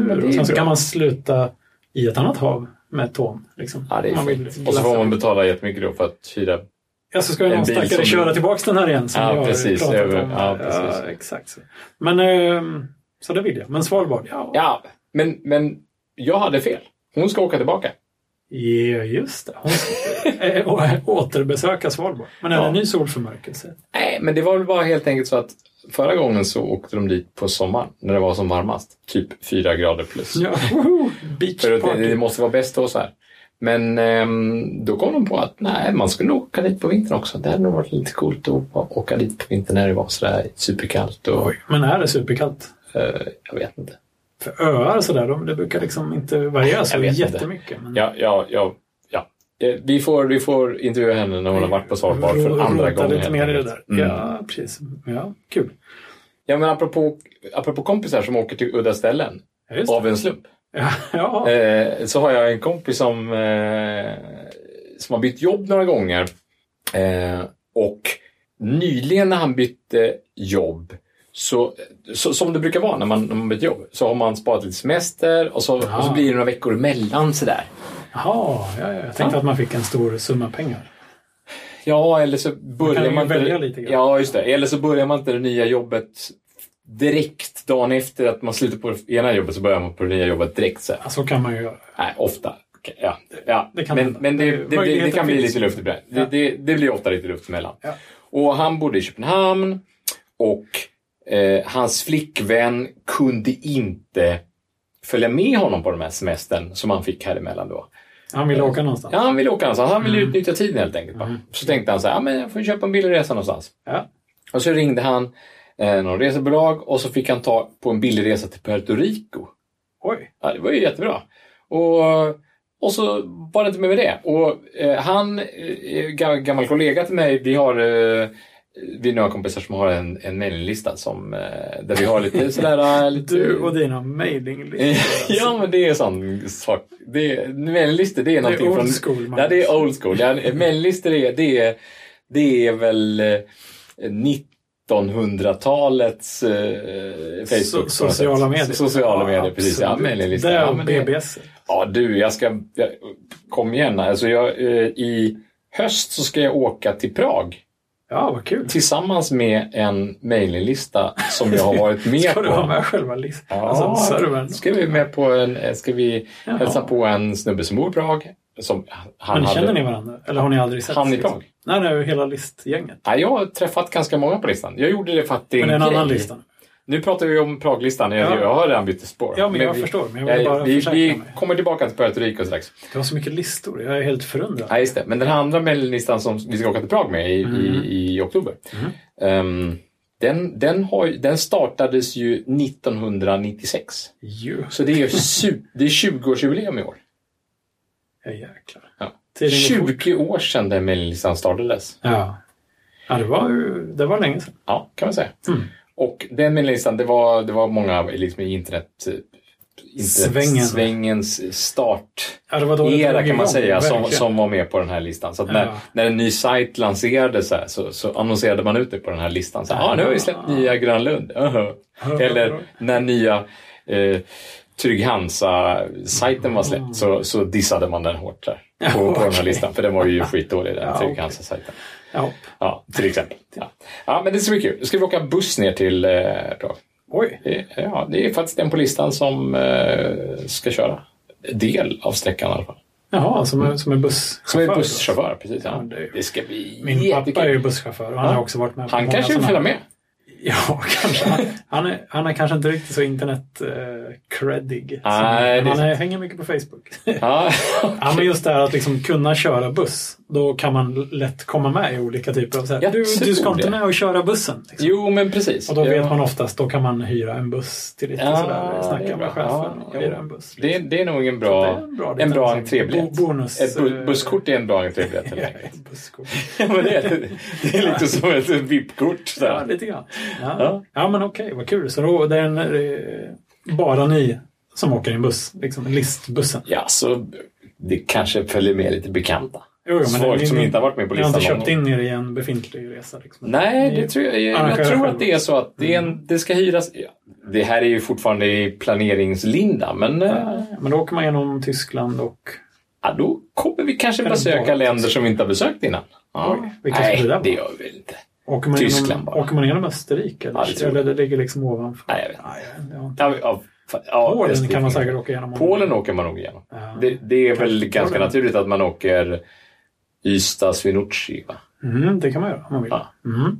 men det är och sen så bra. kan man sluta i ett annat hav med tån. Liksom. Ja, det är man vill fint. Och så får man betala jättemycket då för att hyra. Ja, så ska ju en någon bil stackare som du- köra tillbaks den här igen. Som Ja, jag har precis, pratat över- om. ja, precis. exakt. Så. Men, ehm, så det vill jag. Men Svalbard, ja. Ja, men, men jag hade fel. Hon ska åka tillbaka. Ja, just det. Hon ska, eh, å- återbesöka Svalbard. Men är det Ja. en ny solförmörkelse? Nej, men det var väl bara helt enkelt så att förra gången så åkte de dit på sommaren när det var som varmast. Typ fyra grader plus. Ja, woho! för att det, det Beachparty. måste vara bäst då så här. Men ehm, då kom de på att nej, man skulle nog åka dit på vintern också. Det hade nog varit lite coolt att å- åka dit på vintern när det var sådär superkallt och Men är det superkallt? eh, jag vet inte. För öar sådär, de, det brukar liksom inte variera så Jag vet inte. jättemycket. Men... Mm. Ja, ja, ja. ja. Eh, Vi får, vi får intervjua henne när hon har varit på Svalbard för Ro- andra rota gången. lite helt mer i det enkelt. där. Mm. Ja. Ja, precis. Ja, kul. men apropå, apropå kompisar som åker till udda ställen Ja, just det. av en slump. Ja, ja. Eh, så har jag en kompis som, eh, som har bytt jobb några gånger. Eh, och nyligen när han bytte jobb så, så, som det brukar vara när man, när man byter jobb, så har man sparat lite semester och så, och så blir det några veckor emellan sådär. Jaha, ja, ja. jag tänkte att man fick en stor summa pengar. Ja, eller så kan börjar ju man... inte- välja lite grann. Ja, just det. Eller så börjar man inte det nya jobbet direkt. Dagen efter att man slutar på det ena jobbet så börjar man på det nya jobbet direkt. Så, här. Ja, så kan man ju göra. nej, ofta. Ja, ja. Det kan men hända. men det, det, blir- det Möjligheten kan bli finns. lite luft i det. Ja. Det, det, det blir ofta lite luft emellan. Ja. Och han bodde i Köpenhamn och eh, hans flickvän kunde inte följa med honom på den här semestern som han fick här emellan då. Han ville åka någonstans. Ja, han ville åka någonstans. Han Mm. ville utnyttja tiden helt enkelt. va? Så tänkte han så här, ja, men jag får köpa en billig resa någonstans. Ja. Och så ringde han eh, någon resebolag och så fick han ta på en billig resa till Puerto Rico. Oj. Ja, det var ju jättebra. Och, och så var det inte mer med det. Och eh, han, eh, gam- gammal kollega till mig, vi har eh, vi är några kompisar som har en, en mejllista som, eh, där vi har lite sådär... eh, Lite... Du och dina mejlinglistor. Ja, men det är sån sak. Det är, mejllistor, det är Det är någonting old från... school. man. Ja, det är old school. Ja, mejllistor är, det är, det är väl eh, 1900-talets eh, Facebook. So- på något sociala sätt. medier. Sociala medier, precis. Ja, absolut. mejllistor. Det Ja, och men det- BBS. Ja du, jag ska... Jag, kom igen. Alltså jag, eh, I höst så ska jag åka till Prag Ja, vad kul. tillsammans med en mailinglista som jag har varit med Ska på. du ha med själva listan? Ja, Alltså servern. ska vi med på en... eh, Ska vi Jaha. hälsa på en snubbe som bor i Prag? Som han Men känner hade, ni varandra? Eller har ni aldrig sett? liksom? Han i Prag? Nej, nej, hela listgänget. Ja, jag har träffat ganska många på listan. Jag gjorde det för att det är Men en annan grej. lista. Nu pratar vi om Praglistan. Jag, Ja. jag har redan bytt spår. Ja, men jag vi, förstår. Men jag vill Jag, bara vi, försäkra vi mig. kommer tillbaka till Puerto Rico strax. Det var så mycket listor. Jag är helt förundrad. Ja, just det. Men den här andra mejllistan som vi ska åka till Prag med i, i, i oktober. ehm, den, den, har, ju- den startades ju 1996. Jo, Så det är, ju su- det är 20-årsjubileum i år. ja, jäklar. Ja. Tiden går fort. 20 år sedan den mejllistan startades. Ja. Ja, det var, ju- det var länge sedan. Ja, kan man säga. Mm. Och den mejllistan, det var, det var många liksom i internet... Svängen. Svängens start. Ja, det var då det era drog kan man igång, säga som, verkligen. som var med på den här listan. Så att när, Ja. när en ny sajt lanserades så, här, så, så annonserade man ut det på den här listan. Så här, ah, nu har vi släppt Ah. nya Grönlund. Uh-huh. Eller när nya eh, Trygg Hansa-sajten var släppt så, så dissade man den hårt där, på, på den här okej. listan. För den var ju skitdålig den Ja, Trygg okej. Hansa-sajten. Ja. Ja, till exempel. Ja. ja, men det ska bli kul. Då ska vi åka buss ner till eh, Prag. Oj. Det- Ja, det är faktiskt den på listan som eh, ska köra. Del av sträckan i alla fall. Jaha, som, är- som en busschaufför. Som är då. busschaufför, precis. Ja. Ja, det är ju- Det ska bli Min pappa är jättekul. ju busschaufför och han Ja. har också varit med på Han många kanske sådana- vill följa med. Ja, kanske. Han är, han är kanske inte riktigt så internet-creddig. som- Nej, men det är han är, hänger mycket på Facebook. Ja. ja, men just det här att liksom kunna köra buss. Då kan man lätt komma med i olika typer av... Så här, Jag du, du ska tror inte det. med och köra bussen. Liksom. Jo, men precis. Och då vet Ja. man oftast, då kan man hyra en buss till lite Ja, sådär. det är Snacka bra. med chefen Ja, och hyra jo. en buss. det, är- det är nog en Så bra, det är bra en liten bra sån entrébiljett. bo- Bonus. Ett bu- eh, busskort är en bra entrébiljett ja, helt enkelt. ett busskort. Ja, men det, är- det är liksom som ett VIP-kort. så Ja, här. lite grann. Ja, Ja. ja. men okej, vad kul. Så då det är en, eh, bara ni som åker i en buss, liksom listbussen? Ja, så det kanske följer med lite bekanta. Jo, jo, men Folk ni- som ni- inte har varit med på Ni har listan. inte någon köpt gång. in er i en befintlig resa? Liksom. Nej, Ni- det tror jag, jag, Arrangera jag tror att själva. Mm. det är så att det, är en, det ska hyras. ja, Det här är ju fortfarande i planeringslinda, men eh, Ja, Men då åker man genom Tyskland och... ja, då kommer vi kanske Eller besöka bara- länder som vi inte har besökt innan. Ja. Oj, vilka Nej, skulle det vara? det gör vi väl inte. Åker man Tyskland genom, bara. Åker man genom Österrike? Eller, Ja, det tror jag. eller det ligger liksom ovanför? Nej, jag vet inte. Nej, jag har inte. Ja, vi- ja, fa- ja, Polen Österrike. kan man säkert åka igenom. om- Polen åker man nog igenom. Ja. Det, det är väl Kanske ganska Polen. naturligt att man åker Ystad, Swinoujscie. va? Mm, det kan man göra om man vill. Ja. Mm.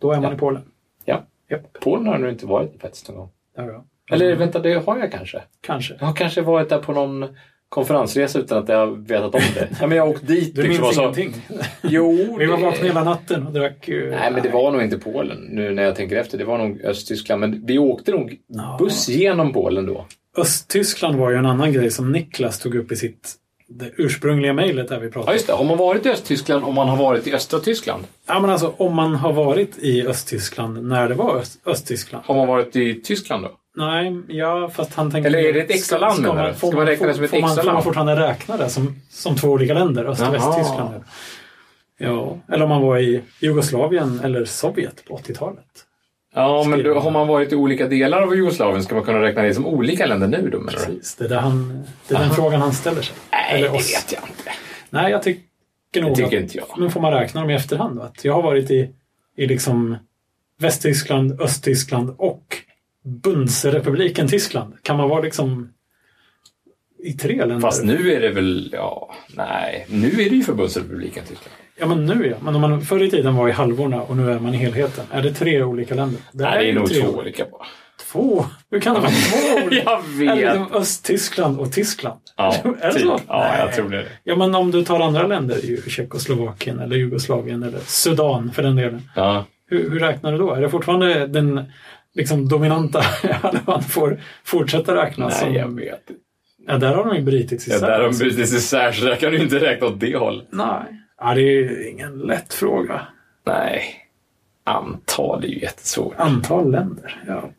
Då är man Ja. i Polen. Ja. Japp, Polen har jag nog inte varit i faktiskt någon gång. där har jag. Eller vänta, det har jag kanske. Kanske. Jag har kanske varit där på någon konferensresa utan att jag har vetat om det. Ja, men jag har åkt dit. Du liksom, minns och så- ingenting? Jo, Vi var det- vakna hela natten och drack... eh, Nej, men det var nog inte Polen nu när jag tänker efter. Det var nog Östtyskland. Men vi åkte nog Ja. buss genom Polen då. Östtyskland var ju en annan grej som Niklas tog upp i sitt det ursprungliga mejlet där vi Ja, pratade. just det. Har man varit i Östtyskland om man har varit i östra Tyskland? Ja, men alltså om man har varit i Östtyskland när det var Öst- Östtyskland. Har man varit i Tyskland då? Nej, ja, fast han tänker... Eller är det ett extra land, Ska menar man, du? får Ska man räkna det får- som ett får man- extra Får man land? fortfarande räkna det som, som två olika länder? Öst Jaha. och Västtyskland? Ja, eller om man var i Jugoslavien eller Sovjet på 80-talet. Ja, men då, Skriva. har man varit i olika delar av Jugoslavien ska man kunna räkna det som olika länder nu då menar du? Precis, det är, där han, det är den frågan han ställer sig. Nej, Eller det oss. vet jag inte. Nej, jag tycker nog tycker att, inte jag. Men får man räkna dem i efterhand? Då? Att jag har varit i, i liksom Västtyskland, Östtyskland och Bundsrepubliken Tyskland. Kan man vara liksom i tre länder? Fast nu är det väl, ja, nej. Nu är det ju Förbundsrepubliken Tyskland. Ja, men nu ja. Men om man förr i tiden var i halvorna och nu är man i helheten. Är det tre olika länder? Nej, det är nog tre två olika. olika bara. två? Hur kan det vara två ord? Jag Eller vet. liksom Östtyskland och Tyskland. Ja, Är det typ. så? Ja, jag Nej. tror det. Ja, men om du tar andra länder, ju- Tjeckoslovakien eller Jugoslavien eller Sudan för den delen. Ja. Hur, hur räknar du då? Är det fortfarande den liksom, dominanta halvan får fortsätta räknas? Nej, som- jag vet inte. ja, där har de ju brutits Ja, isär. där har de alltså. brutit isär, så där kan du inte räkna åt det hållet. Nej. Ja, det är ju ingen lätt fråga. Nej. Antal är ju jättesvårt. Antal länder. Ja.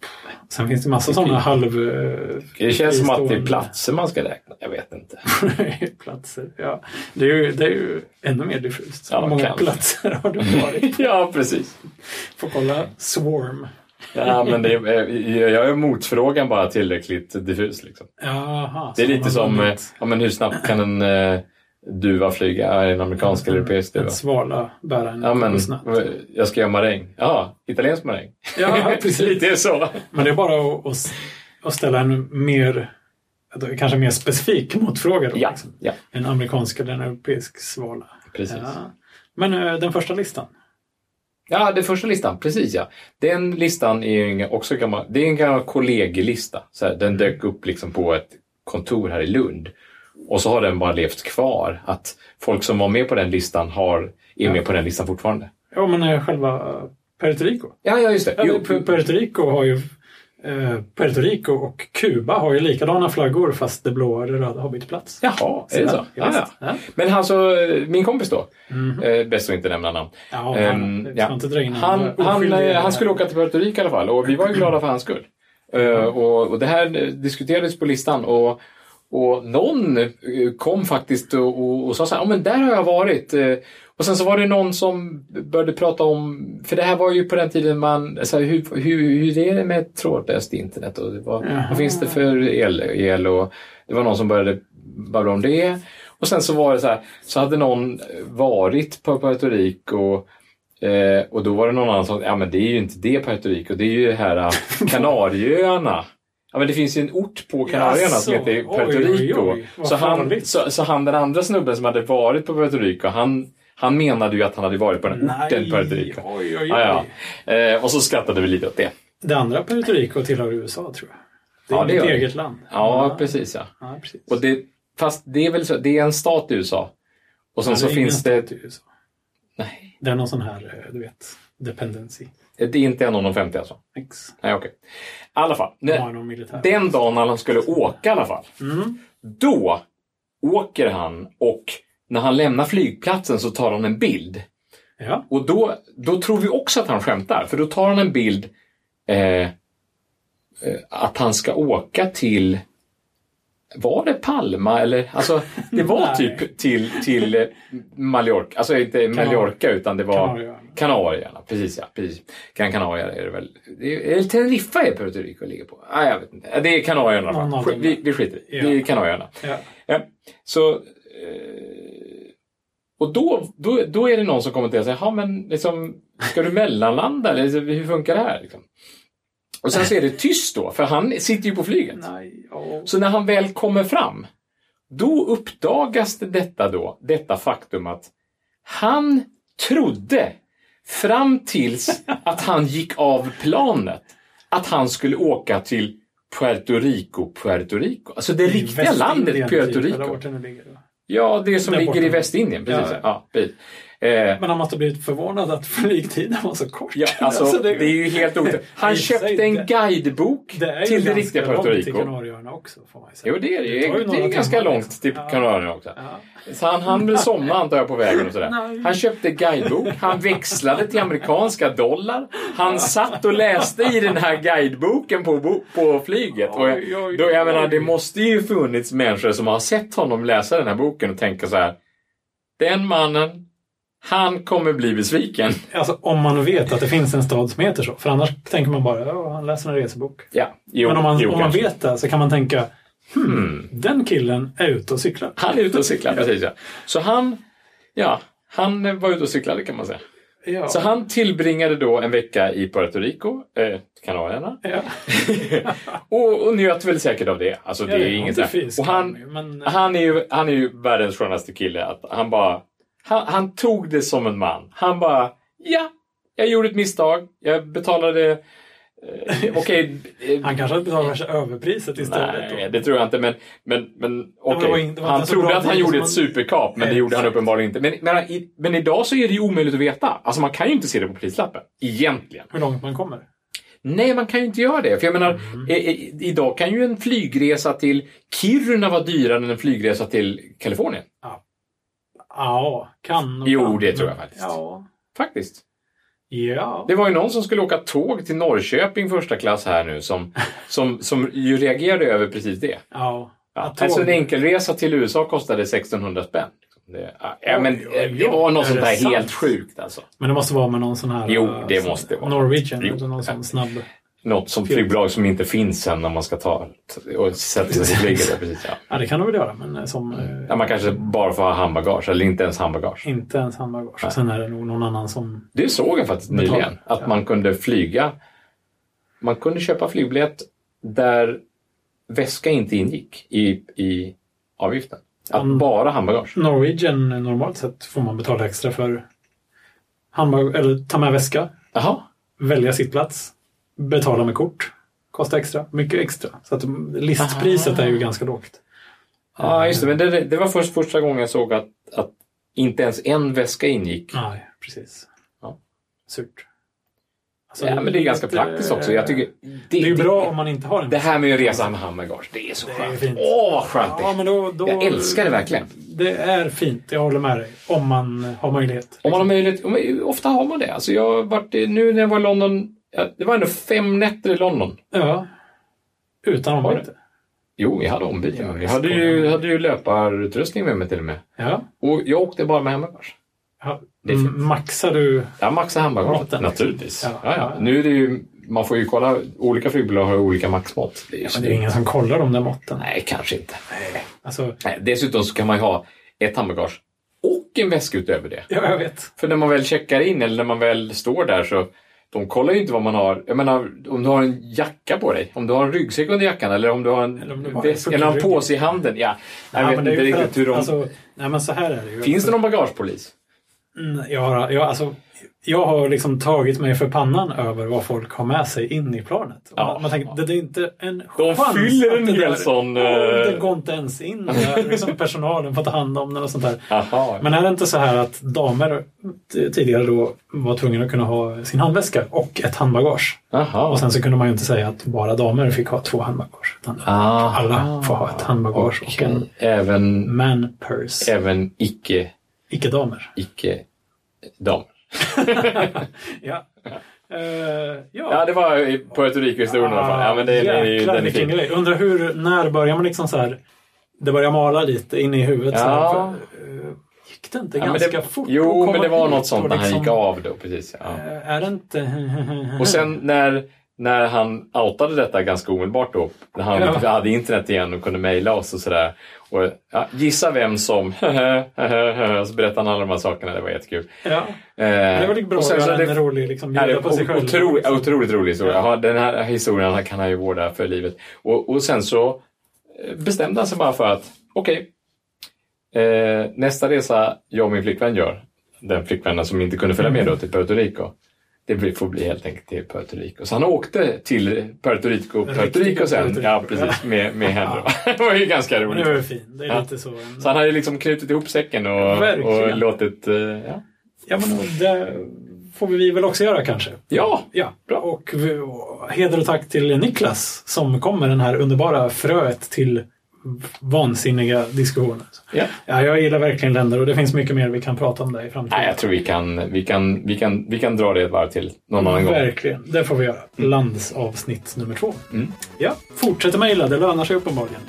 Sen finns det massa sådana halv... eh, Det känns som att det är fristående platser man ska räkna. Jag vet inte. platser. Ja. Det, är ju, det är ju ännu mer diffust. Ja, Hur många kanske. platser har du varit? ja, precis. Får kolla Swarm. Ja, men det är, eh, jag jag är motfrågan bara tillräckligt diffus. Liksom. Jaha, Det är så lite man som har eh, ett- ja, men hur snabbt kan en eh, duva flyga? Ja, En amerikansk eller europeisk duva? Ett svala bära en Ja, men, eh, kokosnöt. jag ska göra maräng. Ja, italiensk maräng. Ja, precis. det är så. Men det är bara att, att, att ställa en mer, kanske mer specifik motfråga. Då, Ja, liksom. ja En amerikansk eller en europeisk svala. precis. Ja. Ja. Men eh, den första listan? det är första listan. Precis, ja. Den listan är ju en- också gammal, det är en gammal kollegielista. Så här, Mm. den dök upp liksom på ett kontor här i Lund. Och så har den bara levt kvar. Att folk som var med på den listan har, är med på den listan fortfarande. Ja, men eh, själva Puerto Rico. Ja, ja just det. Eller, Jo, Pu- Puerto Rico har ju eh, Puerto Rico och Kuba har ju likadana flaggor fast det blåa och det röda har bytt plats. Jaha, är det så? Ja, Ja, ja. visst. ja. Men alltså, eh, min kompis då, Mhm. eh, bäst att inte nämna namn. Ja, Ehm, han, vi ja. ska inte dra in Han, några han, oskyldiga- eh, han skulle åka till Puerto Rico i alla fall och vi var ju glada för hans skull. Eh, Och, och det här eh, diskuterades på listan och, och någon eh, kom faktiskt och, och, och sa så här, ja men där har jag varit. Eh, Och sen så var det någon som började prata om, för det här var ju på den tiden man, så här, hur, hur, hur är det med trådlöst internet och vad, Jaha. vad finns det för el, el och det var någon som började babbla om det. Och sen så var det så här, så hade någon varit på Puerto Rico Eh, och då var det någon annan som ja men det är ju inte det Puerto Rico, det är ju det här eh, Kanarieöarna. Ja men det finns ju en ort på Kanarieöarna som Jaså, heter oj, Puerto oj, oj, Rico. vad så, han, farligt. så, så han den andra snubben som hade varit på Puerto Rico, han, han menade ju att han hade varit på den orten Puerto Rico. Oj, oj, oj. Ja, ja. Eh, och så skrattade vi lite åt det. Det andra Puerto Rico tillhör USA tror jag. Det är Ja, det mitt gör det. eget land. Ja, precis ja. Ja, precis. Och det, fast det är väl så, det är en stat i USA. Och sen Ja, så är finns Alltså, ingen det... stat i USA. Nej, Det är någon sån här, eh, du vet, dependency. det är inte en av de 50 alltså. Ex. Nej, okej. I alla fall. De Nej. har någon militär. Den dagen när han skulle åka i alla fall, Mm. då åker han och när han lämnar flygplatsen så tar han en bild. Ja. Och då, då tror vi också att han skämtar, för då tar han en bild eh, eh, att han ska åka till var det Palma eller? Alltså, det var Nej. typ till, till eh, Mallorca. Alltså inte Mallorca utan det var Kanarieöarna. Kanarieöarna. Precis ja. Precis. Gran Canaria är det väl? Det är, eller Teneriffa är Puerto Rico ligger på. Ah, jag vet inte. Det är Kanarieöarna. i alla Någon av fall. dem. Vi, vi skiter i det. Det är Ja. Kanarieöarna. Ja. Ja. Så, eh, och då, då, då är det någon som kommenterar så här, "Jaha, men liksom, ska du mellanlanda eller liksom, hur funkar det här? Liksom. Och sen så är det tyst då, för han sitter ju på flyget. Nej, åh. Så när han väl kommer fram, då uppdagas det detta då, detta faktum att han trodde fram tills att han gick av planet att han skulle åka till Puerto Rico, Puerto Rico. Alltså det riktiga landet Västindien Puerto typ, Rico. eller vart det nu ligger då. Ja, det som Där ligger borta. i Västindien. Precis. Ja, Ja, precis. Eh, Men han måste ha blivit förvånad att flygtiden var så kort. ja, alltså, det, är ju helt otroligt. Han i och för sig, köpte en det- guidebok det är ju till det ganska riktiga långt Puerto till Rico. Kanarieöarna också får man ju säga. Jo, det är det ju. Det tar ju Det är några ganska timmar, långt liksom. till Ja. Kanarierna också. Ja. Så han hann väl somna antar jag på vägen och sådär. Nej. Han köpte guidebok, han växlade till amerikanska dollar. Han satt och läste i den här guideboken på, bo- på flyget. Och jag, Oj, oj, då, jag menar, oj. det måste ju funnits människor som har sett honom läsa den här boken och tänka så här. Den mannen, han kommer bli besviken. Alltså om man vet att det finns en stad som heter så. För annars tänker man bara, ja, han läser en resebok. Ja, jo, Men om man, jo, om man kanske. vet det så kan man tänka, Hmm. den killen är ute och cyklar. Han är ute och cyklar, precis ja. Så han, ja, han var ute och cyklade kan man säga. Ja. Så han tillbringade då en vecka i Puerto Rico, eh, Kanarierna, ja. och, och njöt väl säkert av det. Alltså, det Ja, är ja, inget det så här- finns Och han, kan man ju, men- eh, han, är ju, han är ju världens skönaste kille. Att han, bara, han, han tog det som en man. Han bara, ja, jag gjorde ett misstag. Jag betalade Eh, Okej. eh, Han kanske hade betalat värsta överpriset istället. då. Nej, det tror jag inte. Men, men, men var- okej. det var inte- det var Han inte så trodde bra att han tid gjorde som ett man- superkap, men det gjorde han Exakt. uppenbarligen inte. Men, men, i- men idag så är det ju omöjligt att veta. Alltså man kan ju inte se det på prislappen. Egentligen. Hur långt man kommer. Nej, man kan ju inte göra det. För jag menar, Mm. i, i, idag kan ju en flygresa till Kiruna vara dyrare än en flygresa till Kalifornien. Ja, kan och Jo, kan. det tror jag faktiskt. Ja. Faktiskt. ja. Det var ju någon som skulle åka tåg till Norrköping första klass här nu som, som, som ju reagerade över precis det. ja. Ja, Att tåg- alltså en enkelresa till USA kostade 1600 spänn. Det, ja, ja, men, eh, Oj, oj, oj. det var något Är sånt det där sant? helt sjukt alltså. Men det måste vara med någon sån här... Jo, eh, det sån- måste det vara. Norwegian Jo. eller någon sån snabb... Något som flygbolag som inte finns sen när man ska ta och sätta sig på flyget. ja, Precis, ja. Ja, det kan de väl göra, men eh, som... eh, Ja, man kanske bara får ha handbagage eller inte ens handbagage. Inte ens handbagage. Sen är det nog någon annan som... Det såg jag faktiskt Betala. nyligen. Att Ja. man kunde flyga. Man kunde köpa flygbiljett där väska inte ingick i, i avgiften. Att Mm. bara handbagage. Norwegian eh, normalt sett får man betala extra för handbag... Eller ta med väska, Jaha. välja sittplats, betala med kort. Kostar extra, mycket extra. Så att mm, listpriset Ah. är ju ganska lågt. Ja, just det. Men det, det var först första gången jag såg att, att inte ens en väska ingick. Nej, precis. Ja. Surt. Alltså, Ja, men det är ganska lite- eh, praktiskt också. Jag tycker, Det är ju bra om man inte har en Det här med att resa med handbagage, det är så är skönt. fint. Åh, vad skönt det Ja, är. men då, då, Jag älskar det verkligen. Det är fint, jag håller med dig. Om man har möjlighet. Om man har möjlighet, om man, ofta har man det. Alltså jag har varit, i- nu när jag var i London, ja, det var ändå fem nätter i London. Ja. Utan Har ombyte. Jo, jag hade ombyte. Ja, jag hade ju, hade ju löparutrustning med mig till och med. Ja. Och jag åkte bara med handbagage. ja. Det är fint. M- Maxar du... Jag maxade handbagaget. Måtten. Naturligtvis. Ja. Ja. Ja, Nu är det ju, man får ju kolla, olika flygbolag har ju olika maxmått. Det är ju Men det är ingen som kollar de där måtten. Nej, kanske inte. Alltså, Nej, dessutom så kan man ju ha ett handbagage och en väska utöver det. ja, jag vet. För när man väl checkar in eller när man väl står där så de kollar ju inte vad man har. Jag menar, om du har en jacka på dig, om du har en ryggsäck under jackan eller om du har en, Eller om du bara- väska, eller en påse i handen. Ja, jag Ja, vet men det är inte ju för riktigt att- hur de... Alltså, nej, men så här är det ju. Finns det någon bagagepolis? Mm, Jag har, jag, alltså, jag har liksom tagit mig för pannan över vad folk har med sig in i planet. Ja. Man, man tänker, det, det är inte en De chans. fyller att en det hel där- sån, Ja, eh, Det går inte ens in. när Liksom personalen får ta hand om den och sånt där. Jaha. Men är det inte så här att damer t- tidigare då var tvungna att kunna ha sin handväska och ett handbagage? Jaha. Och sen så kunde man ju inte säga att bara damer fick ha två handbagage. Utan Aha. alla får ha ett handbagage och en Även, man purse. även icke, Icke-damer. icke dam. Ja. Eh, Ja, det var i Puerto Rico-historien i alla fall. Ja, men det, den är ju Jäklar den är vilken fin. grej. Undrar hur, när börjar man liksom så här, det börjar mala lite in i huvudet. Så här, Ja. för, eh, gick det inte Ja, men ganska det, fort? att jo, komma men det var hit något och sånt när han liksom, gick av då. Precis, ja. eh, Är det inte... Och sen när, när han outade detta ganska omedelbart då, när han Ja. hade internet igen och kunde mejla oss och sådär. Och, ja, gissa vem som... så berättade han alla de här sakerna, det var jättekul. ja. Eh, Det var lite bra och att sen så göra det- en rolig, liksom, Ja, det är bjuda på sig själv. otro, liksom. Otroligt rolig historia. Ja. Den här historien kan han ju vårda för livet. Och, och sen så eh, bestämde han sig bara för att okej, eh, nästa resa jag och min flickvän gör, den flickvännen som inte kunde följa med då till Puerto Rico, det blir- får bli helt enkelt till Puerto Rico. Så han åkte till Puerto Rico, Puerto Riktiga Rico sen. Puerto Rico. Ja, precis. Med, med henne. då. det var ju ganska Men det var ju roligt. fint. Det är Ja. lite så. en- Så han hade liksom knutit ihop säcken och, Verkligen. och låtit... eh, Ja. Ja, men det får vi väl också göra kanske. ja, Ja, Bra. och vi- och heder och tack till Niklas som kom med den här underbara fröet till vansinniga diskussioner. ja. Ja, jag gillar verkligen länder och det finns mycket mer vi kan prata om där i framtiden. Nej, jag tror vi kan, vi kan, vi kan, vi kan dra det ett varv till någon annan gång. Verkligen, det får vi göra. Landsavsnitt nummer två. Mm. Ja, fortsätt mejla, det lönar sig uppenbarligen.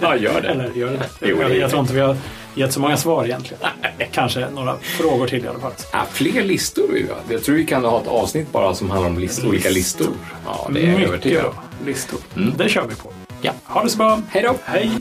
ja, gör det. Eller gör det det? Jo, det jag, gör det. jag tror inte vi har gett så många svar egentligen. Kanske några frågor till i alla fall. Ja, fler listor vill jag. Jag tror vi kan ha ett avsnitt bara som handlar om list, olika listor. Ja, det är jag övertygad om. bra listor. Det kör vi på. Ja. Ha det så bra. Hej då! Hej!